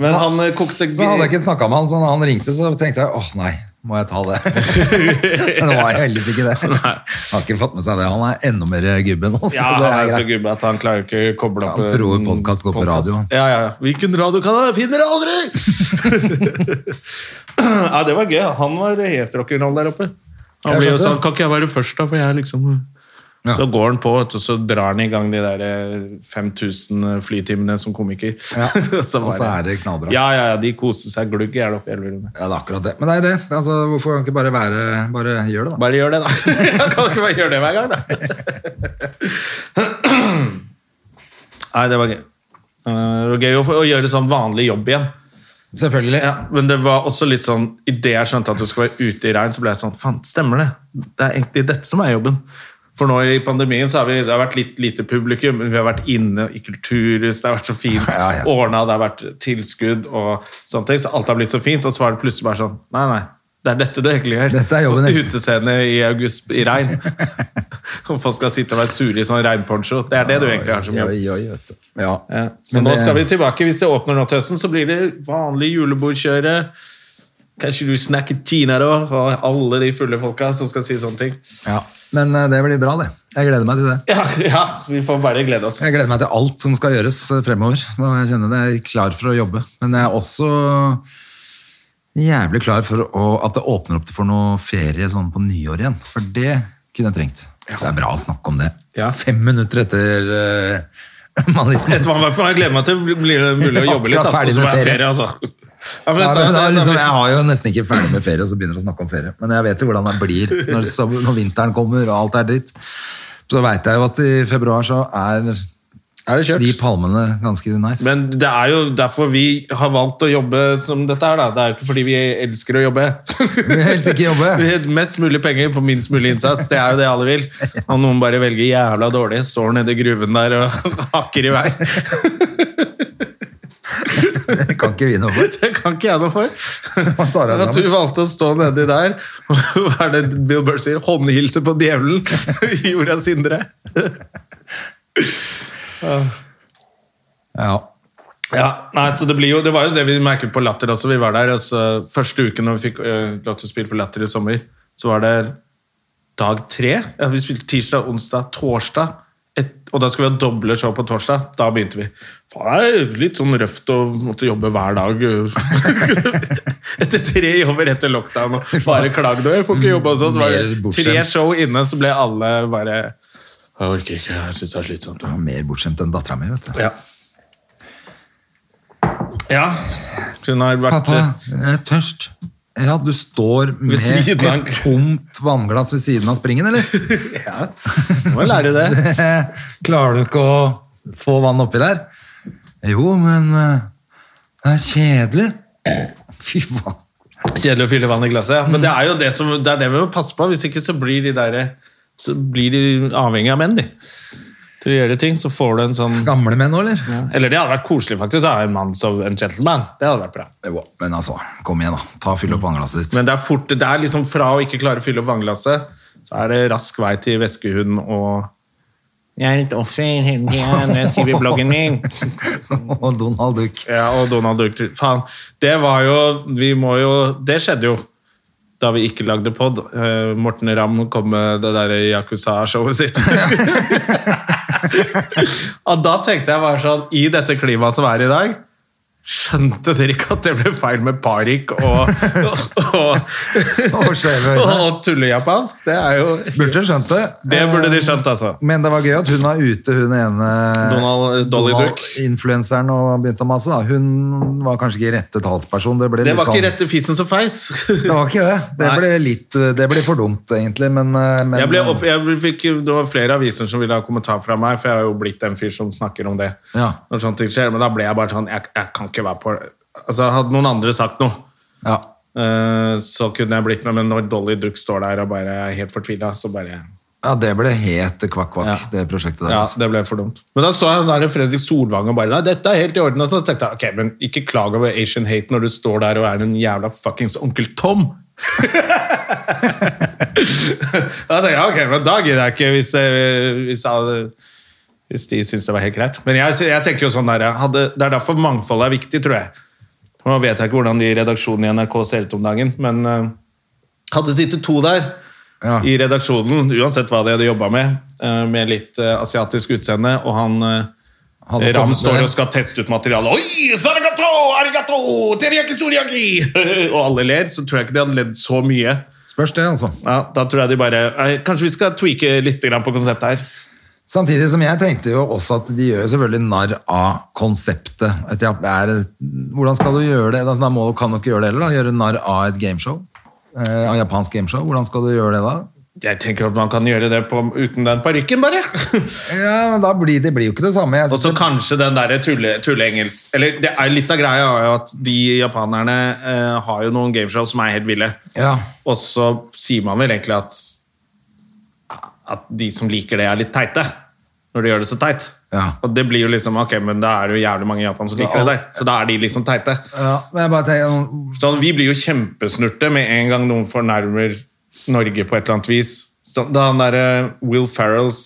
Men han eh, kokte Så hadde jeg ikke snakka med han, så når han ringte, så tenkte jeg åh nei, må jeg ta det? Men det var heldigvis ikke det. Han har ikke fått med seg det. Han er enda mer gubbe nå, så Ja, han det er er så greit. gubbe at han klarer ikke å koble opp Han tror en podcast går på podcast. radio. Ja, ja. Hvilken radiokanal finner jeg aldri?! ja, det var gøy. Han var helt rock'n'roll der oppe. Han Jeg blir jo skjønte sånn det. Kan ikke jeg være først, da? For jeg er liksom Ja. Så går han på, vet du, så drar han i gang de der eh, 5000 flytimene som komiker. Ja. så Og så bare- er det knallbra. Ja, ja, ja, de koser seg glugg i hjel oppe i Elverum. Ja, det er akkurat det. Men det er det. Altså, hvorfor kan han ikke bare være Bare gjør det, da. Bare gjør det, da. Jeg kan ikke bare gjøre det hver gang, da. Nei, det var gøy. Eh, Det var gøy å, få- å gjøre sånn vanlig jobb igjen. Selvfølgelig. Ja, men det var også litt sånn Idet jeg skjønte at det skulle være ute i regn, så ble jeg sånn Faen, stemmer det? Det er egentlig dette som er jobben. For nå i pandemien så har vi, det har vært litt lite publikum, men vi har vært inne i kulturhus, det har vært så fint Ja, ja. ordna, det har vært tilskudd og sånne ting, så alt har blitt så fint, og så var det plutselig bare sånn Nei, nei. Det er dette du egentlig gjør. Dette er jobben Og din. Utescene i august i regn. Om folk skal sitte og være sure i sånn regnponcho. Det er det du egentlig har som jobb. Oi, oi, oi, vet du. Ja. Ja. Så Men nå det- skal vi tilbake. Hvis det åpner nå til høsten, så blir det vanlig julebordkjøre. Kanskje du snakker Tina da, og alle de fulle folka som skal si sånne ting. ja. Men eh, det blir bra, det. Jeg gleder meg til det. Ja, ja vi får bare glede oss. Jeg gleder meg til alt som skal gjøres eh, fremover. Nå er jeg kjenner det, jeg er klar for å jobbe. Men jeg er også jævlig klar for å, at det åpner opp for noe ferie sånn på nyår igjen. For det kunne jeg trengt. Det er bra å snakke om det. Ja. Fem minutter etter uh, manismen. Vet du hva, i hvert fall, Jeg gleder meg til det blir mulig å jobbe litt. Akkurat Altså, ferdig og så må jeg ha ferie, med ferie. altså. Ja, men Ja, jeg sa men det jo er det, liksom, da jeg har jo nesten ikke ferdig med ferie, og så begynner jeg å snakke om ferie. Men jeg vet jo hvordan det blir når, som- når vinteren kommer og alt er dritt. Så veit jeg jo at i februar så er, Er det kjørt? de palmene ganske nice. Men det er jo derfor vi har valgt å jobbe som dette her, da. Det er jo ikke fordi vi elsker å jobbe. vil helst ikke jobbe. Vi vil Mest mulig penger på minst mulig innsats, det er jo det alle vil. Og noen bare velger jævla dårlig, står nede i gruven der og hakker i vei. Det kan ikke vi noe for. Det kan ikke jeg noe for. Man tar det Men At du sammen. valgte å stå nedi der, og hva er det Bill Burr sier? Håndhilse på djevelen i jordas indre. Ja. Ja, nei, så det, blir jo, det var jo det vi merket på Latter også. Vi var der, altså, Første uken når vi fikk øh, lov til å spille på Latter i sommer, så var det dag tre. Ja, vi spilte tirsdag, onsdag, torsdag. Et, og da skulle vi ha doble show på torsdag. Da begynte vi. Faen, det er jo litt sånn røft å måtte jobbe hver dag. eh, etter tre jobber etter lockdown og bare klagde. og Jeg får ikke jobbe og sånn. Så var Mer det bortskjemt. tre show inne, så ble alle bare Jeg orker ikke, jeg syns det er slitsomt. Jeg var mer bortskjemt enn dattera mi, vet du. Ja. Ja, hun har vært Pappa, jeg er tørst. Ja, du står med siden av- et tomt vannglass ved siden av springen, eller? Ja, må lære det. Klarer du ikke å få vann oppi der? Jo, men eh, det er kjedelig. Fy faen. Kjedelig å fylle vann i glasset. ja. Men det er jo det, som, det, er det vi må passe på. Hvis ikke så blir de, der, så blir de avhengig av menn, de. Til å gjøre ting, så får du en sånn Gamle menn nå, eller? Eller det hadde vært koselig, faktisk. Da. En mann som en gentleman. Det hadde vært bra. Jo, men altså, kom igjen, da. Ta og Fyll opp vannglasset ditt. Mm. Men det er fort Det er liksom fra å ikke klare å fylle opp vannglasset, så er det rask vei til væskehund og Jeg er et offer hele tida når jeg skriver bloggen min. Og Donald Duck. Ja, og Donald Duck. Faen, det var jo Vi må jo Det skjedde jo da vi ikke lagde pod. Eh, Morten Ramm kom med det derre Yakuza-showet sitt. og da tenkte jeg bare sånn I dette klimaet som er i dag Skjønte dere ikke at det ble feil med parykk og, og, og, Og skjeve øyne. og tullejapansk? Det er jo Burde skjønt det. Eh, Det burde de skjønt, altså. Men det var gøy at hun var ute, hun ene Donald- Dolly Duck. influenseren og begynte å mase. Da. Hun var kanskje ikke rette talsperson. Det, ble Det litt var ikke sånn, rette fisen som feis. Det var ikke det. Det Nei. ble, litt, det ble for dumt, egentlig. Men, eh, men Jeg ble opp, jeg fikk, det var flere aviser som ville ha kommentar fra meg, for jeg har jo blitt den fyr som snakker om det. Ja. Når sånne ting skjer, Men da ble jeg bare sånn Jeg, jeg kan ikke være på Altså, Hadde noen andre sagt noe, ja. eh, så kunne jeg blitt med, men når Dolly Duck står der og bare er helt fortvila, så bare ja, det ble helt kvakk-kvakk, Ja. det prosjektet altså. Ja, deres. det ble for dumt. Men da så jeg der Fredrik Solvang og bare Nei, dette er helt i orden. Og så tenkte jeg ok, men ikke klag over Asian hate når du står der og er en jævla fuckings onkel Tom. da tenkte jeg ok, men da gidder jeg ikke hvis, eh, hvis, jeg, hvis de syns det var helt greit. Men jeg, jeg tenker jo sånn der, jeg hadde, det er derfor mangfold er viktig, tror jeg. Nå vet jeg ikke hvordan de i redaksjonen i NRK ser ut om dagen, men eh, hadde sittet to der Ja. i redaksjonen, uansett hva de hadde jobba med, eh, med litt eh, asiatisk utseende, og han eh, Hadde Ram kommet står med. og skal teste ut materialet. Oi, sarigato, arigato, teriyaki, suriaki! og alle ler, så tror jeg ikke de hadde ledd så mye. Spørs det, altså. Ja, da tror jeg de bare «Nei, Kanskje vi skal tweake litt grann på konseptet her. Samtidig som jeg tenkte jo også at de gjør jo selvfølgelig narr av konseptet. At ja, det er, hvordan skal du gjøre det? Altså, da må, kan du ikke gjøre det heller, da. Gjøre narr av et gameshow. Eh, av japansk gameshow. Hvordan skal du gjøre det da? Jeg tenker at man kan gjøre det på, uten den parykken, bare. Ja, men da blir det blir jo ikke det samme. Jeg og så kanskje den derre tulle- tulleengelsk Eller det er litt av greia er jo at de japanerne eh, har jo noen gameshow som er helt ville. Ja. Og så sier man vel egentlig at at de som liker det, er litt teite. Når de gjør det så teit. Ja. Og det blir jo liksom Ok, men da er det jo jævlig mange i Japan som liker det der. Så da er de liksom teite. ja, men jeg bare tenker, Sånn, vi blir jo kjempesnurte med en gang noen fornærmer Norge på et eller annet vis. Så, da han derre Will Ferrells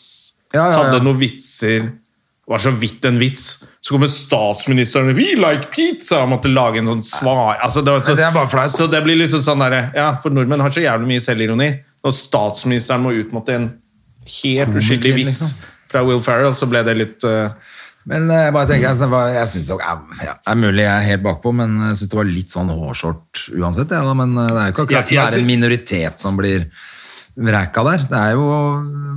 Ja, ja, ja. hadde noen vitser det var så vidt en vits. Så kommer statsministeren We like pizza! Og måtte lage en sånn svar. Altså, det, var så, Men det er bare flaut. Så det blir liksom sånn derre Ja, for nordmenn har så jævlig mye selvironi. Når statsministeren må ut mot en helt uskyldig vits liksom. fra Will Ferrell, så ble det litt eh, men jeg bare tenker, altså, det var- jeg synes det var, ja, det er mulig jeg er helt bakpå, men jeg synes det var litt sånn hårshort uansett. jeg da, men eh, det er jo ikke akkurat som Ja, jeg det er en minoritet som blir vreka der. Det er jo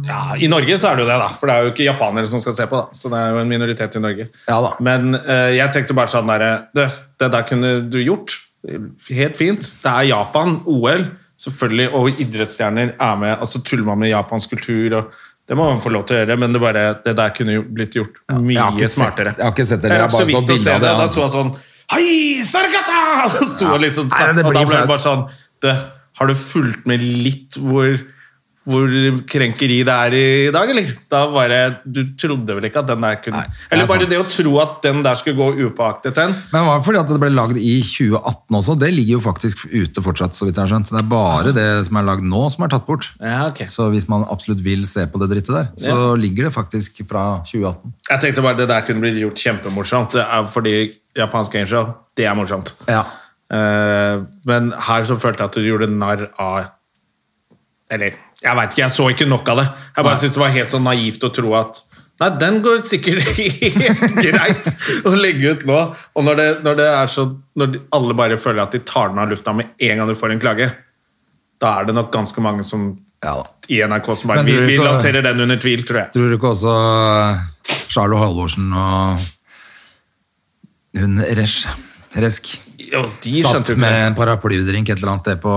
Ja, I Norge så er det jo det, da. For det er jo ikke japanere som skal se på, da. Så det er jo en minoritet i Norge. Ja da. Men eh, jeg tenkte bare sånn derre Det, det der kunne du gjort. Helt fint. Det er Japan, OL, selvfølgelig, og idrettsstjerner er med. Og så tuller man med japansk kultur og Det må man få lov til å gjøre, men det, bare, det der kunne jo blitt gjort mye jeg har ikke sett- smartere. jeg har ikke sett det, jeg Jeg har rakk så bare så vidt å bildet se av det. det, Da altså. så jeg sånn Hei, sargata! Og sto og liksom Nei, det snakket, og da blir ble det flaut. bare sånn det, Har du fulgt med litt hvor, hvor krenkeri det er i dag, eller? Da bare, Du trodde vel ikke at den der kunne Nei, det er Eller bare sant. det å tro at den der skulle gå upåaktet hen. Men det var fordi at det ble lagd i 2018 også. Det ligger jo faktisk ute fortsatt, så vidt jeg har skjønt. Det er bare det som er lagd nå, som er tatt bort. Ja, ok. Så hvis man absolutt vil se på det drittet der, så Ja. ligger det faktisk fra 2018. Jeg tenkte bare det der kunne blitt gjort kjempemorsomt, det er fordi japansk gameshow, det er morsomt. Ja. Eh, men her så følte jeg at du gjorde narr av Eller jeg veit ikke, jeg så ikke nok av det. Jeg bare syntes det var helt sånn naivt å tro at Nei, den går sikkert helt greit å legge ut nå. Og når det, når det er så Når de- alle bare føler at de tar den av lufta med en gang du får en klage, da er det nok ganske mange som ja da. i NRK som bare Men Vi, tror du vi ikke- lanserer den under tvil, tror jeg. Tror du ikke også Charlo Halvorsen og hun Resh Resk Jo, de satt skjønte jo ikke med det. en paraplydrink et eller annet sted på,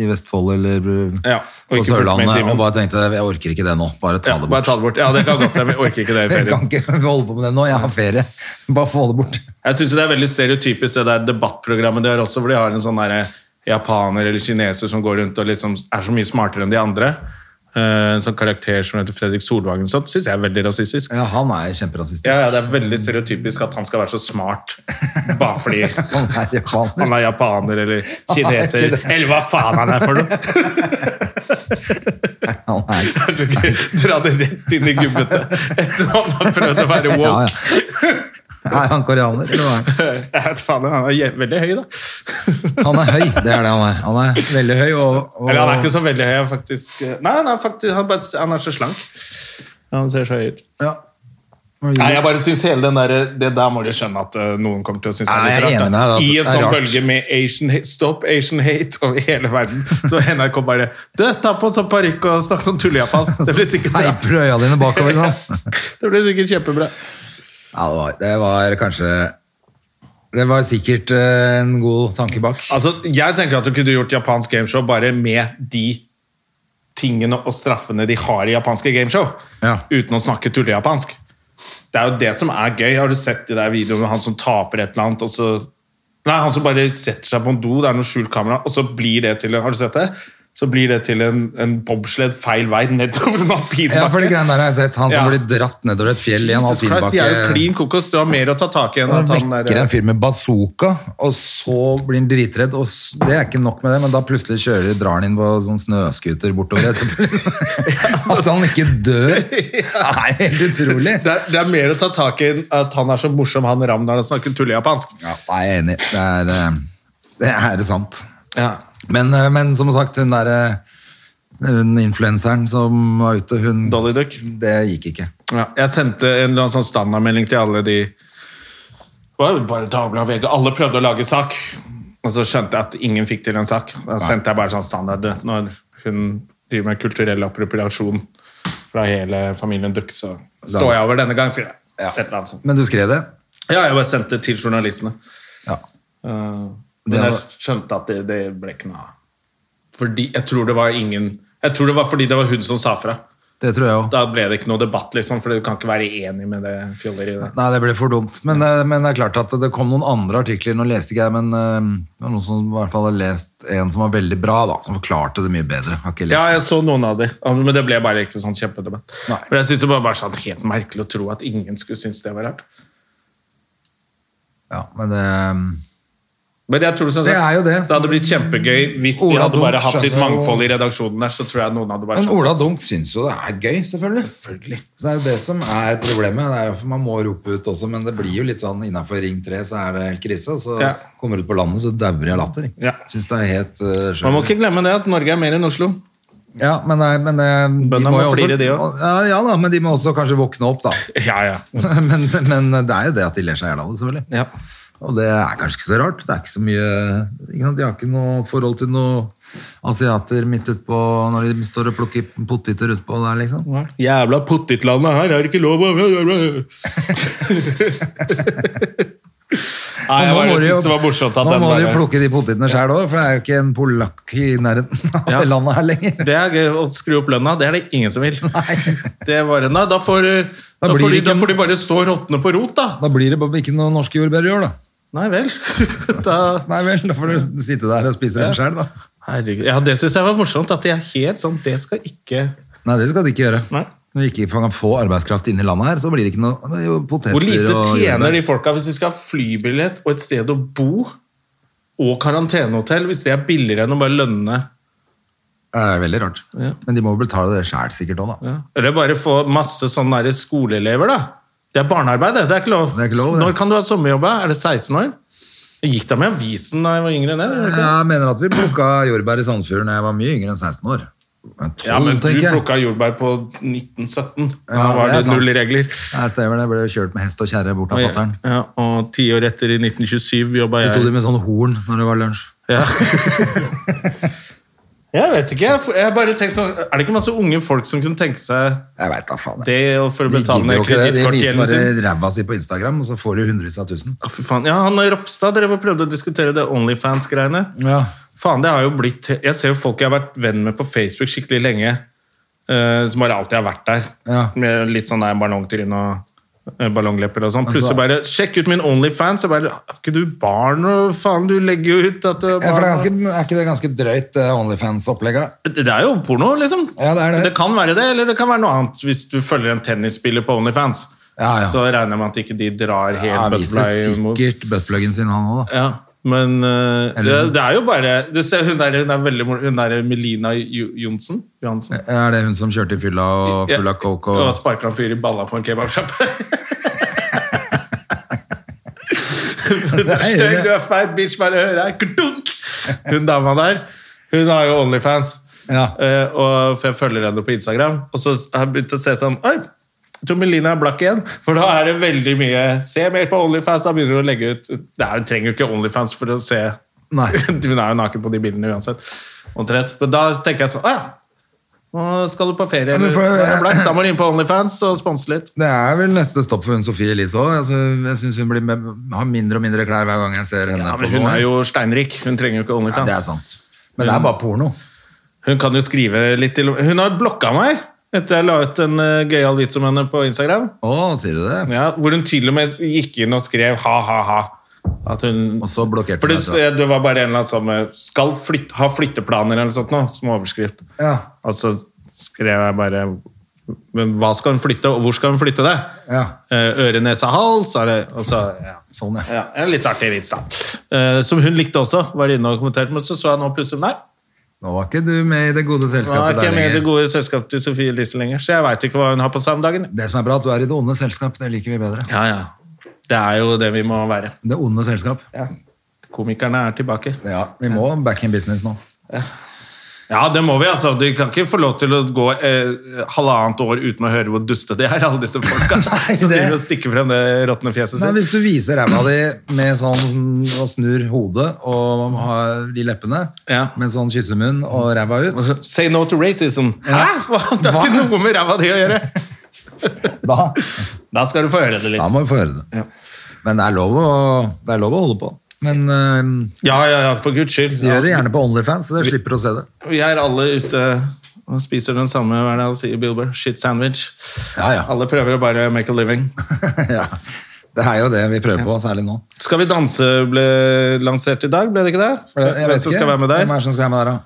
i Vestfold eller Ja, og på ikke fulgt med i Sørlandet timen. og bare tenkte jeg orker ikke det nå, bare ta Ja, det bare bort. ta det bort. Ja, det kan godt hende. Vi orker ikke det i Jeg ferien. kan ikke holde på med det nå, jeg har ferie. Bare få det bort. Jeg syns det er veldig stereotypisk det der debattprogrammet de har også, hvor de har en sånn derre japaner eller kineser som går rundt og liksom er så mye smartere enn de andre. Eh, En sånn karakter som heter Fredrik Solvagen, sånt syns jeg er veldig rasistisk. Ja, han er kjemperasistisk. Ja, ja, Det er veldig stereotypisk at han skal være så smart bare fordi Han er japaner. han er japaner eller Han er kineser. ikke det. Eller hva faen han er for noe! Han er. Kan du ikke dra det rett inn i gubbete etter at han prøvde å være Ja, woke? ja. Er han koreaner? eller hva er han? Jeg vet faen, Han er jæv- veldig høy, da. Han er høy, det er det han er. Han er veldig høy og, og Eller han er ikke så veldig høy, han faktisk. Nei, han er, faktisk, han bare, han er så slank. Han ser så høy ut. ja. Nei, jeg bare synes hele den der, Det der må du skjønne at eh, noen kommer til å synes Nei, er jeg litt rart. er enig med da. deg, det I er en sånn rart. bølge med Asian hate, Stop Asian Hate over hele verden. Så NRK bare Du, ta på sånn parykk og snakk sånn tullejapansk. Det blir sikkert bra. Teiper du øya dine bakover. Sånn. Det blir sikkert kjempebra. Ja, det var, det var kanskje Det var sikkert eh, en god tanke bak. Altså, Jeg tenker at du kunne gjort japansk gameshow bare med de tingene og straffene de har i japanske gameshow, Ja. uten å snakke tullejapansk. Det er jo det som er gøy. Har du sett de der videoene med han som taper et eller annet, og så Nei, han som bare setter seg på en do, det er noe skjult kamera, og så blir det til en Har du sett det? Så blir det til en, en bobsled feil vei nedover en alpinbakke. Ja, for det greiene der har jeg sett. Han Ja. som blir dratt nedover et fjell i en Jesus Christ, de er jo alpinbakke. klin kokos. Du har mer å ta tak i enn Han at han eh, vekker der- en fyr med bazooka, og så blir han dritredd. Og s- det er ikke nok med det, men da plutselig kjører, drar han inn på sånn snøskuter bortover etterpå. liksom. At han ikke dør! Nei, helt utrolig. det er, det er mer å ta tak i enn at han er så morsom, han Ramnar, og snakker tullejapansk. Ja, nei, jeg er enig. Det er, eh, det er sant. Ja. Men, eh, men som sagt, hun derre hun influenseren som var ute, hun Dolly Duck. Det gikk ikke. Jeg sendte en eller annen sånn standardmelding til alle de Det var jo bare tavla og VG. Alle prøvde å lage sak, og så skjønte jeg at ingen fikk til en sak. Da sendte jeg bare sånn standard når hun driver med kulturell appropriasjon fra hele familien Duck, så står jeg over denne gang, sier jeg. Et eller annet sånt. Men du skrev det? Ja, jeg bare sendte til journalistene. Ja. Eh, Det Men jeg var- skjønte at det, det ble ikke noe av. Fordi, jeg tror det var ingen Jeg tror det var fordi det var hun som sa fra. Det tror jeg òg. Da ble det ikke noe debatt, liksom, for du kan ikke være enig med det fjolleriet der. Nei, det ble for dumt. Men, eh, men det er klart at det kom noen andre artikler. Nå leste ikke jeg, men eh, det var noen som i hvert fall har lest en som var veldig bra, da, som forklarte det mye bedre. Jeg Har ikke lest Ja, den. jeg så noen av de, Ja, men det ble bare ikke sånn kjempedebatt. Nei. For jeg synes det var bare sånn helt merkelig å tro at ingen skulle synes det var rart. ja, men eh, det, Men jeg tror sånn Det sett- er jo det. hadde blitt kjempegøy hvis de Ola hadde bare Dunk hatt litt skjønner jo- mangfold i redaksjonen der, så tror jeg noen hadde vært men sånn. Ola Dunk syns jo det er gøy, selvfølgelig. Selvfølgelig. Så det er jo det som er problemet. Det er jo, man må rope ut også, men det blir jo litt sånn innafor Ring 3 så er det helt krise. Og så Ja. kommer du ut på landet, så dauer jeg av latter. Ja. Syns det er helt eh, skjønt. Man må ikke glemme det at Norge er mer enn Oslo. Ja, men, det er- men det- de Bøndene må jo også- flire, de også. Ja, ja da, men de må også kanskje våkne opp, da. Ja, ja. men, men det er jo det at de ler seg i hjel av det, selvfølgelig. ja. Og det er kanskje ikke så rart. Det er ikke så mye ikke sant? De har ikke noe forhold til noen asiater midt utpå når de står og plukker poteter utpå der, liksom. Jævla pottitlandet her er det ikke lov å Nei, jeg Og nå bare må de jo- synes det var morsomt at Nå den må de jo bare- plukke de potetene sjøl òg, for det er jo ikke en polakk i nærheten av Ja. det landet her lenger. Det er gøy å skru opp lønna, det er det ingen som vil. Det er bare, nei, da får, da Da får, de, blir det ikke da en- får de bare stå og råtne på rot, da. Da blir det bare ikke noe norske jordbær i år, da. Nei vel. Da, Nei vel, da får du sitte der og spise dem sjøl, da. herregud. Ja, det syns jeg var morsomt. At de er helt sånn Det skal ikke Nei, det skal de ikke gjøre. Nei. Når vi ikke kan få arbeidskraft inn i landet her, så blir det ikke noe det er jo poteter Hvor lite og tjener jordbær. de folka hvis de skal ha flybillett og et sted å bo og karantenehotell, hvis det er billigere enn å bare lønne Det er veldig rart. Ja. Men de må jo betale det sjæl sikkert òg, da. ja. Eller bare få masse sånne der skoleelever, da. Det er barnearbeid, det. Det er ikke lov. Det er ikke lov, det. Når kan du ha sommerjobb? da? Er det 16 år? Det gikk da med avisen da jeg var yngre enn det? eller? Jeg mener at vi plukka jordbær i Sandfjorden da jeg var mye yngre enn 16 år. Men 12, Ja, men du tenker jeg. plukka jordbær på 1917. Da Ja, var det er det, sant. null regler. Nei, stemmer det. Jeg ble jo kjørt med hest og kjerre bort av fatter'n. Ja, og ti år etter, i 1927, jobba Så sto de jeg med sånn horn når det var lunsj. ja. Jeg vet ikke. jeg- Jeg bare tenker sånn, Er det ikke masse unge folk som kunne tenke seg Jeg veit da faen. jeg. det og for å De betale gidder ned jo ikke det. De viser kredittkortgjelden sin? bare ræva si på Instagram, og så får de hundrevis av tusen. Ja, fy faen. Ja, han Ropstad drev og prøvde å diskutere det Onlyfans-greiene. Ja. Faen, det har jo blitt Jeg ser jo folk jeg har vært venn med på Facebook skikkelig lenge, eh, som bare alltid har vært der. Ja. Med litt sånn der ballongtryn og eh, ballonglepper og sånn. Altså- Plutselig bare 'Sjekk ut min Onlyfans'. Jeg bare 'Har ikke du barn, og faen, du legger jo ut at du har for det er, barn'. ganske, er ikke det ganske drøyt, eh, det Onlyfans-opplegget? Det er jo porno, liksom. Ja, det er det. kan være det, eller det kan være noe annet hvis du følger en tennisspiller på Onlyfans. Ja, ja. Så regner jeg med at ikke de drar helt Han viser butterfly mot- sikkert buttpluggen sin, han òg, da. Ja, men eh, det, Eller- det er jo bare du ser, hun, der, hun er veldig mor- Hun der Melina Jo- Johnsen Johansen. Er det hun som kjørte i fylla og full av coke Og og sparka en fyr i balla på en kebabsjappe. du er stygg, du er feit, bitch, bare hør her. Kdunk! Hun dama der, hun har jo Onlyfans. Ja. Eh, og for jeg følger henne på Instagram, og så har jeg begynt å se sånn Oi! Tommelina er blakk igjen, for da er det veldig mye Se mer på Onlyfans, da begynner du å legge ut Nei, Du trenger jo ikke Onlyfans for å se Nei. Hun er jo naken på de bildene uansett. Omtrent. Men da tenker jeg sånn Å ja, nå skal du på ferie, men eller for- Da er det blakk, da må du inn på Onlyfans og sponse litt. Det er vel neste stopp for hun Sofie Elise òg. Altså, jeg syns hun blir med, har mindre og mindre klær hver gang jeg ser henne. Ja, men på hun noe. er jo steinrik. Hun trenger jo ikke ja, Onlyfans. Det er sant. Men det er bare porno. Hun kan jo skrive litt til Hun har blokka meg etter jeg la ut en eh, gøyal vits om henne på Instagram. Å, sier du det? Ja, hvor hun til og med gikk inn og skrev ha-ha-ha. At hun Og så blokkerte For hun det, deg, tror det var bare en eller annen sånn eh, Skal flytte, ha flytteplaner eller noe sånt nå, som overskrift. Ja. Og så skrev jeg bare Men hva skal hun flytte, og hvor skal hun flytte det? Ja. Eh, Øre, nese, hals? Er det, og så, ja. Sånn, ja. Ja, en litt artig vits, da. Eh, som hun likte også. Var inne og kommenterte, men så så jeg nå plutselig Nei, Nå var ikke du med i det gode nå er selskapet ikke jeg der med i det lenger. gode selskapet til Sofie Elise lenger, så jeg veit ikke hva hun har på seg om dagen. Det som er bra, at du er i det onde selskap. Det liker vi bedre. Ja, ja. Det er jo det vi må være. Det onde selskap. Ja. Komikerne er tilbake. Ja, vi må back in business nå. Ja, det må vi, altså. Du kan ikke få lov til å gå eh, halvannet år uten å høre hvor duste de er, alle disse folka. Nei, Så det- driver og stikker frem det råtne fjeset Nei, sitt. hvis du viser ræva di med sånn som- og snur hodet og har de leppene Ja. med sånn kyssemunn og ræva ut, Altså, Say no to racism. Hæ? Hva? Det har Hva? ikke noe med ræva di å gjøre! da, Da skal du få høre det da litt. må vi få høre det. Men det er lov å, det er lov å holde på. Men øh, Ja, ja, ja, for guds skyld. vi Ja. gjør det gjerne på Onlyfans, så dere slipper å se det. Vi er alle ute og spiser den samme, hva er det han sier, Bilber? Shit sandwich. Ja, ja. Alle prøver å bare make a living. ja. Det er jo det vi prøver på, særlig nå. Skal vi danse ble lansert i dag, ble det ikke det? For det- jeg Hvem vet som ikke, skal være med Hvem er der? det som skal være med der, da?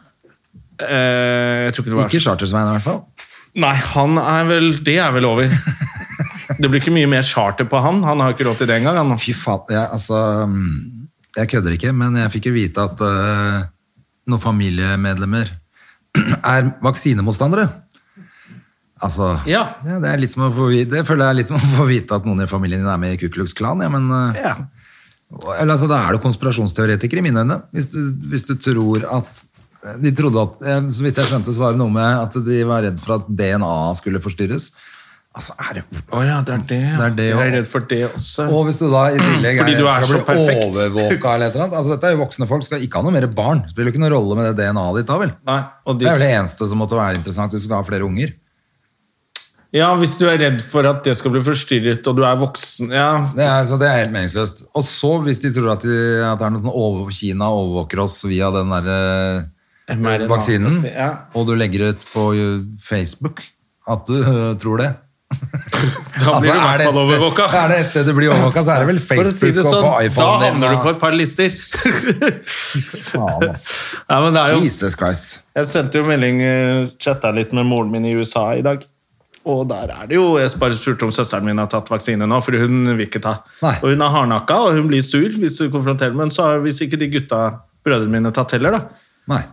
Eh, jeg tror ikke det var Ikke Chartersveien, i hvert fall. Nei, han er vel Det er vel over. Det blir ikke mye mer charter på han. Han har ikke råd til det engang. han. Fy faen, jeg, altså mm, Jeg kødder ikke, men jeg fikk jo vite at eh, noen familiemedlemmer er vaksinemotstandere. Altså Ja. det, er litt som å få vite, det føler jeg er litt som å få vite at noen i familien din er med i Ku Klux Klan. Ja, men, eh, Ja. eller, altså, da er du konspirasjonsteoretiker i mine øyne. Hvis du, hvis du tror at de trodde at, eh, Så vidt jeg skjønte, så var det noe med at de var redd for at DNA skulle forstyrres. Altså, er det Å ja, det er det. ja. Det er det, ja. Jeg er redd for det også. Og hvis du da i tillegg Fordi du er skal så bli perfekt. overvåka eller et eller annet altså, Dette er jo voksne folk, skal ikke ha noe mer barn. Det spiller jo ikke noen rolle med det DNA-et ditt da, vel? Nei, og Det er vel de, det eneste som måtte være interessant hvis du skal ha flere unger. ja, hvis du er redd for at det skal bli forstyrret, og du er voksen Ja, Det er, så det er helt meningsløst. Og så, hvis de tror at, de, at det er noe sånn over, Kina overvåker oss via den eh, derre mRNA, vaksinen, ja. og du legger ut på eh, Facebook at du eh, tror det da blir du i hvert Altså, er det et fall sted- overvåka. Er det et sted du blir overvåka, så er det vel For å Facebook si det sånn, og på da iPhone havner du på din. et par lister. Faen, altså. Nei, men det er jo Jesus Christ. Jeg sendte jo melding, eh, chatta litt med moren min i USA i dag. Og der er det jo Jeg bare spurte om søsteren min har tatt vaksine nå, for hun vil ikke ta. Nei. Og hun er hardnakka, og hun blir sur hvis du konfronterer med henne. Så har- hvis ikke de gutta, brødrene mine, tatt heller, da. Nei.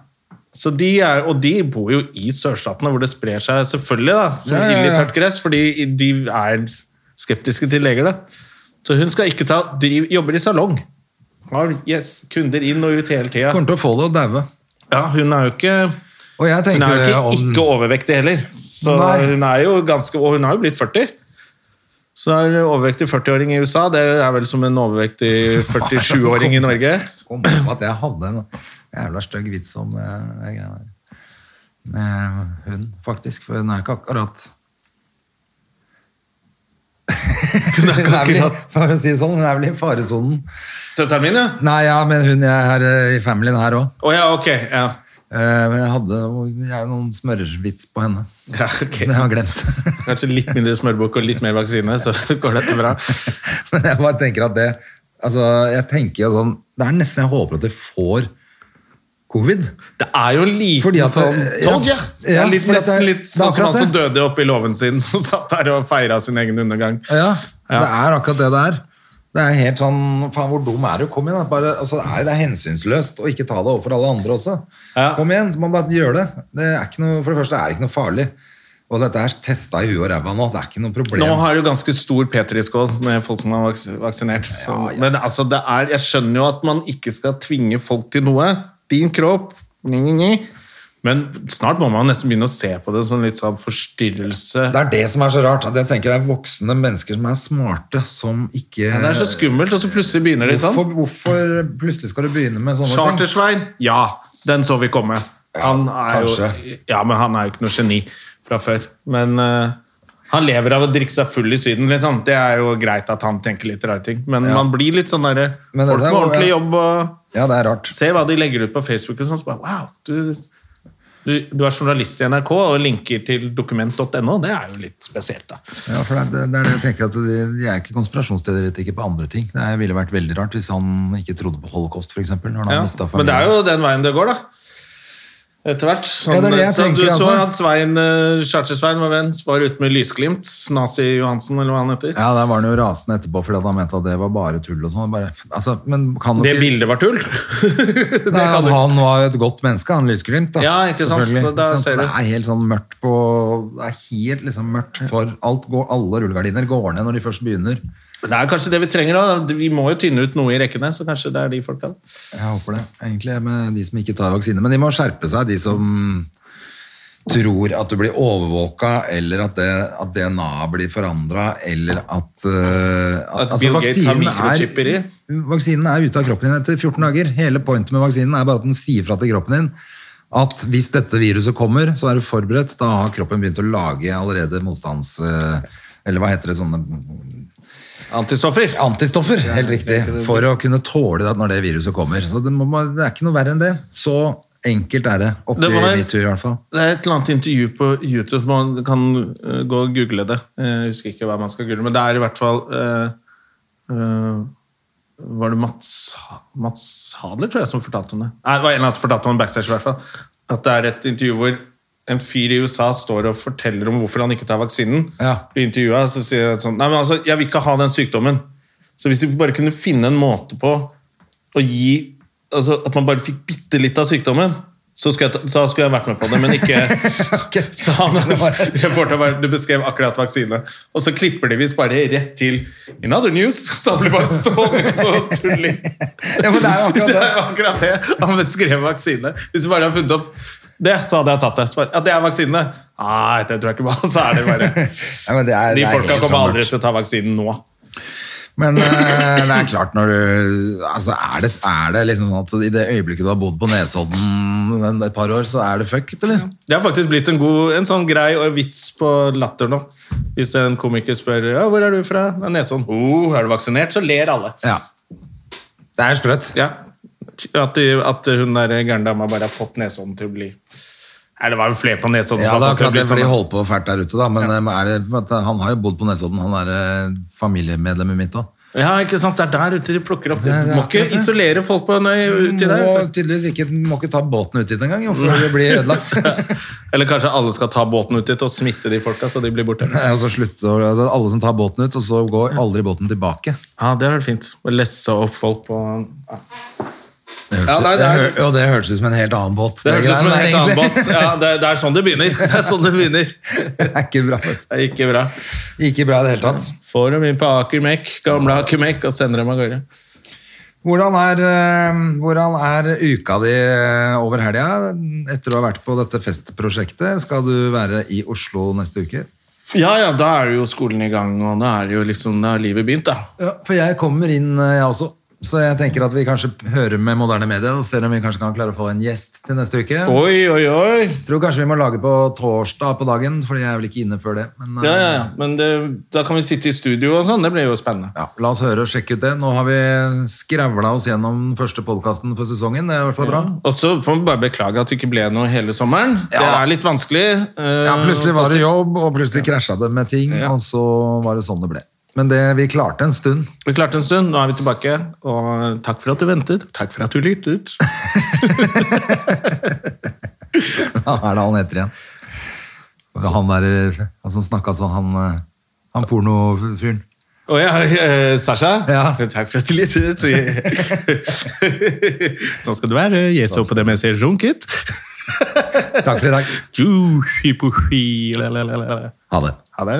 Så de er, og de bor jo i sørstatene, hvor det sprer seg selvfølgelig, da. Som Ja, ja, ja. ild i tørt gress, fordi de er skeptiske til leger, da. Så hun skal ikke ta driv, Jobber i salong. Har yes, kunder inn og ut hele tida. Kommer til å få det og daue. Ja, hun er jo ikke Og jeg hun tenkte er jo ikke, om- ikke overvektig heller. Så Nei. hun er jo ganske, og hun har jo blitt 40. Så er det overvektig 40-åring i USA. Det er vel som en overvektig 47-åring i Norge. kom på at jeg hadde en jævla stygg vits om eh, de greiene der. Med hun, faktisk. For hun er ikke akkurat Hun er vel i- For å si det sånn, hun er vel i faresonen. Søsteren min, ja? Nei, ja, men hun er her eh, i familien her òg. Å ja, ok. Ja. Men jeg hadde jeg har noen smørvits på henne. Ja, ok. Men jeg har glemt. Kanskje litt mindre smørbukk og litt mer vaksine, så går dette bra. Men jeg bare tenker at det Altså, jeg tenker jo sånn Det er nesten jeg håper at du får covid. Det er jo en liten Fordi at- sånn ja. Tog, ja! Det Ja, er litt, fordi at nesten det- litt det er sånn som akkurat han som det. døde oppe i låven sin, som satt der og feira sin egen undergang. Ja, Ja. det er akkurat det det er. Det er helt sånn Faen, hvor dum er du? Kom igjen. da. Bare, altså, det, er, det er hensynsløst å ikke ta det overfor alle andre også. Ja. Kom igjen, du må bare gjøre det. det er ikke noe, for det første er det ikke noe farlig. Og dette er testa i huet og ræva nå. Det er ikke noe problem. Nå har du ganske stor petriskål med folk som er vaks vaksinert. Så, Men altså, det er, jeg skjønner jo at man ikke skal tvinge folk til noe. Din kropp, ni, ni, ni. Men snart må man nesten begynne å se på det som litt sånn forstyrrelse. Det er det som er så rart. At jeg tenker det er voksne mennesker som er smarte, som ikke Ja, Det er så skummelt, og så plutselig begynner de sånn. Hvorfor, hvorfor plutselig skal du begynne med sånne ting? Chartersvein, ja, den så vi komme. Han er jo, kanskje. ja, men han er jo ikke noe geni fra før. Men eh, han lever av å drikke seg full i Syden, liksom. Det er jo greit at han tenker litt rare ting, men man blir litt sånn derre Men Folk det med er jo- ordentlig ja. jobb og Ja, det er rart. Se hva de legger ut på Facebook og sånn, så bare wow. Du, du, du er journalist i NRK og linker til dokument.no. Det er jo litt spesielt, da. Ja, for det, er- det er det jeg tenker at de, de er ikke konspirasjonsteoretikere på andre ting. Det er- ville vært veldig rart hvis han ikke trodde på holocaust, f.eks. Ja. Men det er jo den veien det går, da. Etter hvert. Ja, det er det jeg så tenker, du så altså. at Svein eh, Charter-Svein, vår venn, var ute med lysglimt. Nazi-Johansen, eller hva han heter. Ja, der var han jo rasende etterpå fordi at han mente at det var bare tull og sånn. Bare, altså, men kan Det dere- bildet var tull! det Nei, kan han, du ikke. han var jo et godt menneske, han Lysglimt. da. Ja, ikke sant? Selvfølgelig, Da- da ikke sant? ser du. Det er helt sånn mørkt på Det er helt liksom mørkt for alt. Går, alle rullegardiner går ned når de først begynner. Det er kanskje det vi trenger òg. Vi må jo tynne ut noe i rekkene, så kanskje det er de folka. Jeg håper det, egentlig, med de som ikke tar vaksine. Men de må skjerpe seg, de som tror at du blir overvåka, eller at, det, at DNA blir forandra, eller at eh, At Bill Gates har vaksinen er- mikrochipper i? Vaksinen er ute av kroppen din etter 14 dager. Hele pointet med vaksinen er bare at den sier fra til kroppen din at hvis dette viruset kommer, så er du forberedt. Da har kroppen begynt å lage allerede motstands... eh, Eller hva heter det sånne Antistoffer! Antistoffer, helt riktig. For å kunne tåle det når det viruset kommer. Så det, må, man- det er ikke noe verre enn det. Så enkelt er det. Oppi Det var- metoo, i hvert fall. Det er et eller annet intervju på YouTube. Man kan eh, gå og google det. Eh, Jeg husker ikke hva man skal google, men det er i hvert fall eh, eh, Var det Mats, Mats Hadler, tror jeg, som fortalte om det? Nei, det var en av oss som fortalte om det backstage, i hvert fall. At det er et intervju hvor en fyr i USA står og forteller om hvorfor han ikke tar vaksinen. Ja. Blir intervjuet, så sier han sånn Nei, men altså, jeg vil ikke ha den sykdommen. Så hvis vi bare kunne finne en måte på å gi altså, At man bare fikk bitte litt av sykdommen, så skulle, jeg, ta- da skulle jeg vært med på det, men ikke Ok. Så han reporteren bare, du beskrev akkurat vaksine. Og så klipper de visst bare rett til In other news, så han blir bare stående og så tulling. Ja, men det er jo akkurat det. Det er jo akkurat det. Han beskrev vaksine. Hvis vi bare hadde funnet opp det, så hadde jeg tatt det. Så bare, ja, det er vaksinene. Nei, det tror jeg ikke på. Så er det bare Ja, men det er, De det er folka helt kommer sånn aldri mørkt. til å ta vaksinen nå. Men eh, det er klart når du altså, er, det, er det liksom sånn at i det øyeblikket du har bodd på Nesodden et par år, så er det fucked, eller? Det har faktisk blitt en, god, en sånn grei og vits på latter nå. Hvis en komiker spør ja, 'Hvor er du fra?' Ja, 'Nesodden'. Oh, 'Er du vaksinert?' Så ler alle. Ja. Det er sprøtt. Ja. At, de, at hun der gærne dama bare har fått Nesodden til å bli Nei, det var jo flere på Nesodden Ja, som det har er fått til å akkurat bli det, for de sånn. holder på fælt der ute, da. Men eh, er det, for at han har jo bodd på Nesodden, han er eh, familiemedlemmet mitt òg. Ja, ikke sant? Det er der ute de plukker opp. Det er- det Du er må ikke akkurat det. Mm, isolere folk på nøy uti der. Må vet tydeligvis ikke, må ikke ta båten ut dit engang, jo, for det blir ødelagt. du. Eller kanskje alle skal ta båten ut dit og smitte de folka, så de blir borte. Nei, Og så slutter altså, alle som tar båten ut, og så går aldri båten tilbake. Ja, det hadde vært fint. Å lesse opp folk på Det hørtes, Ja, nei, det det er- hø- og det hørtes ut som en helt annen båt. Det høres ut som en helt greiene annen der, båt. egentlig. Ja, det, det er sånn det begynner. Det er sånn det begynner. det er ikke bra. Det er ikke bra. Ikke bra i det hele tatt. Får dem inn på Aker Mek, gamle Aker Mek, og sender dem av gårde. Hvordan er, eh, hvordan er uka di eh, over helga etter å ha vært på dette festprosjektet? Skal du være i Oslo neste uke? Ja, ja, da er jo skolen i gang, og da er det jo liksom, da har livet begynt, da. Ja, for jeg kommer inn, eh, jeg også. Så jeg tenker at vi kanskje hører med moderne medier og ser om vi kanskje kan klare å få en gjest til neste uke. Oi, oi, oi! Tror kanskje vi må lage på torsdag på dagen, fordi jeg er vel ikke inne før det. Men, Ja, ja, eh, ja. Men det, da kan vi sitte i studio og sånn. Det blir jo spennende. ja, La oss høre og sjekke ut det. Nå har vi skravla oss gjennom den første podkasten for sesongen. Det er i hvert fall bra. Og så får vi bare beklage at det ikke ble noe hele sommeren. Det Ja. er litt vanskelig. eh, Ja, Plutselig var det å få jobb, og plutselig krasja det med ting. Ja. Og så var det sånn det ble. Men det, vi klarte en stund. til. Eh, Vi klarte en stund, nå er vi tilbake. Og takk for at du ventet. Takk for at du lyttet. Hva er det han heter igjen? Han der eh, han som snakka sånn, han, eh, han pornofyren. Å ja, eh, Sasha. Ja. Takk for at du lyttet. sånn skal du være. Jeg så på det mens jeg runket. Takk for i dag. Ju, hi, pu, hi, la, la, la, la. Ha det. Ha det.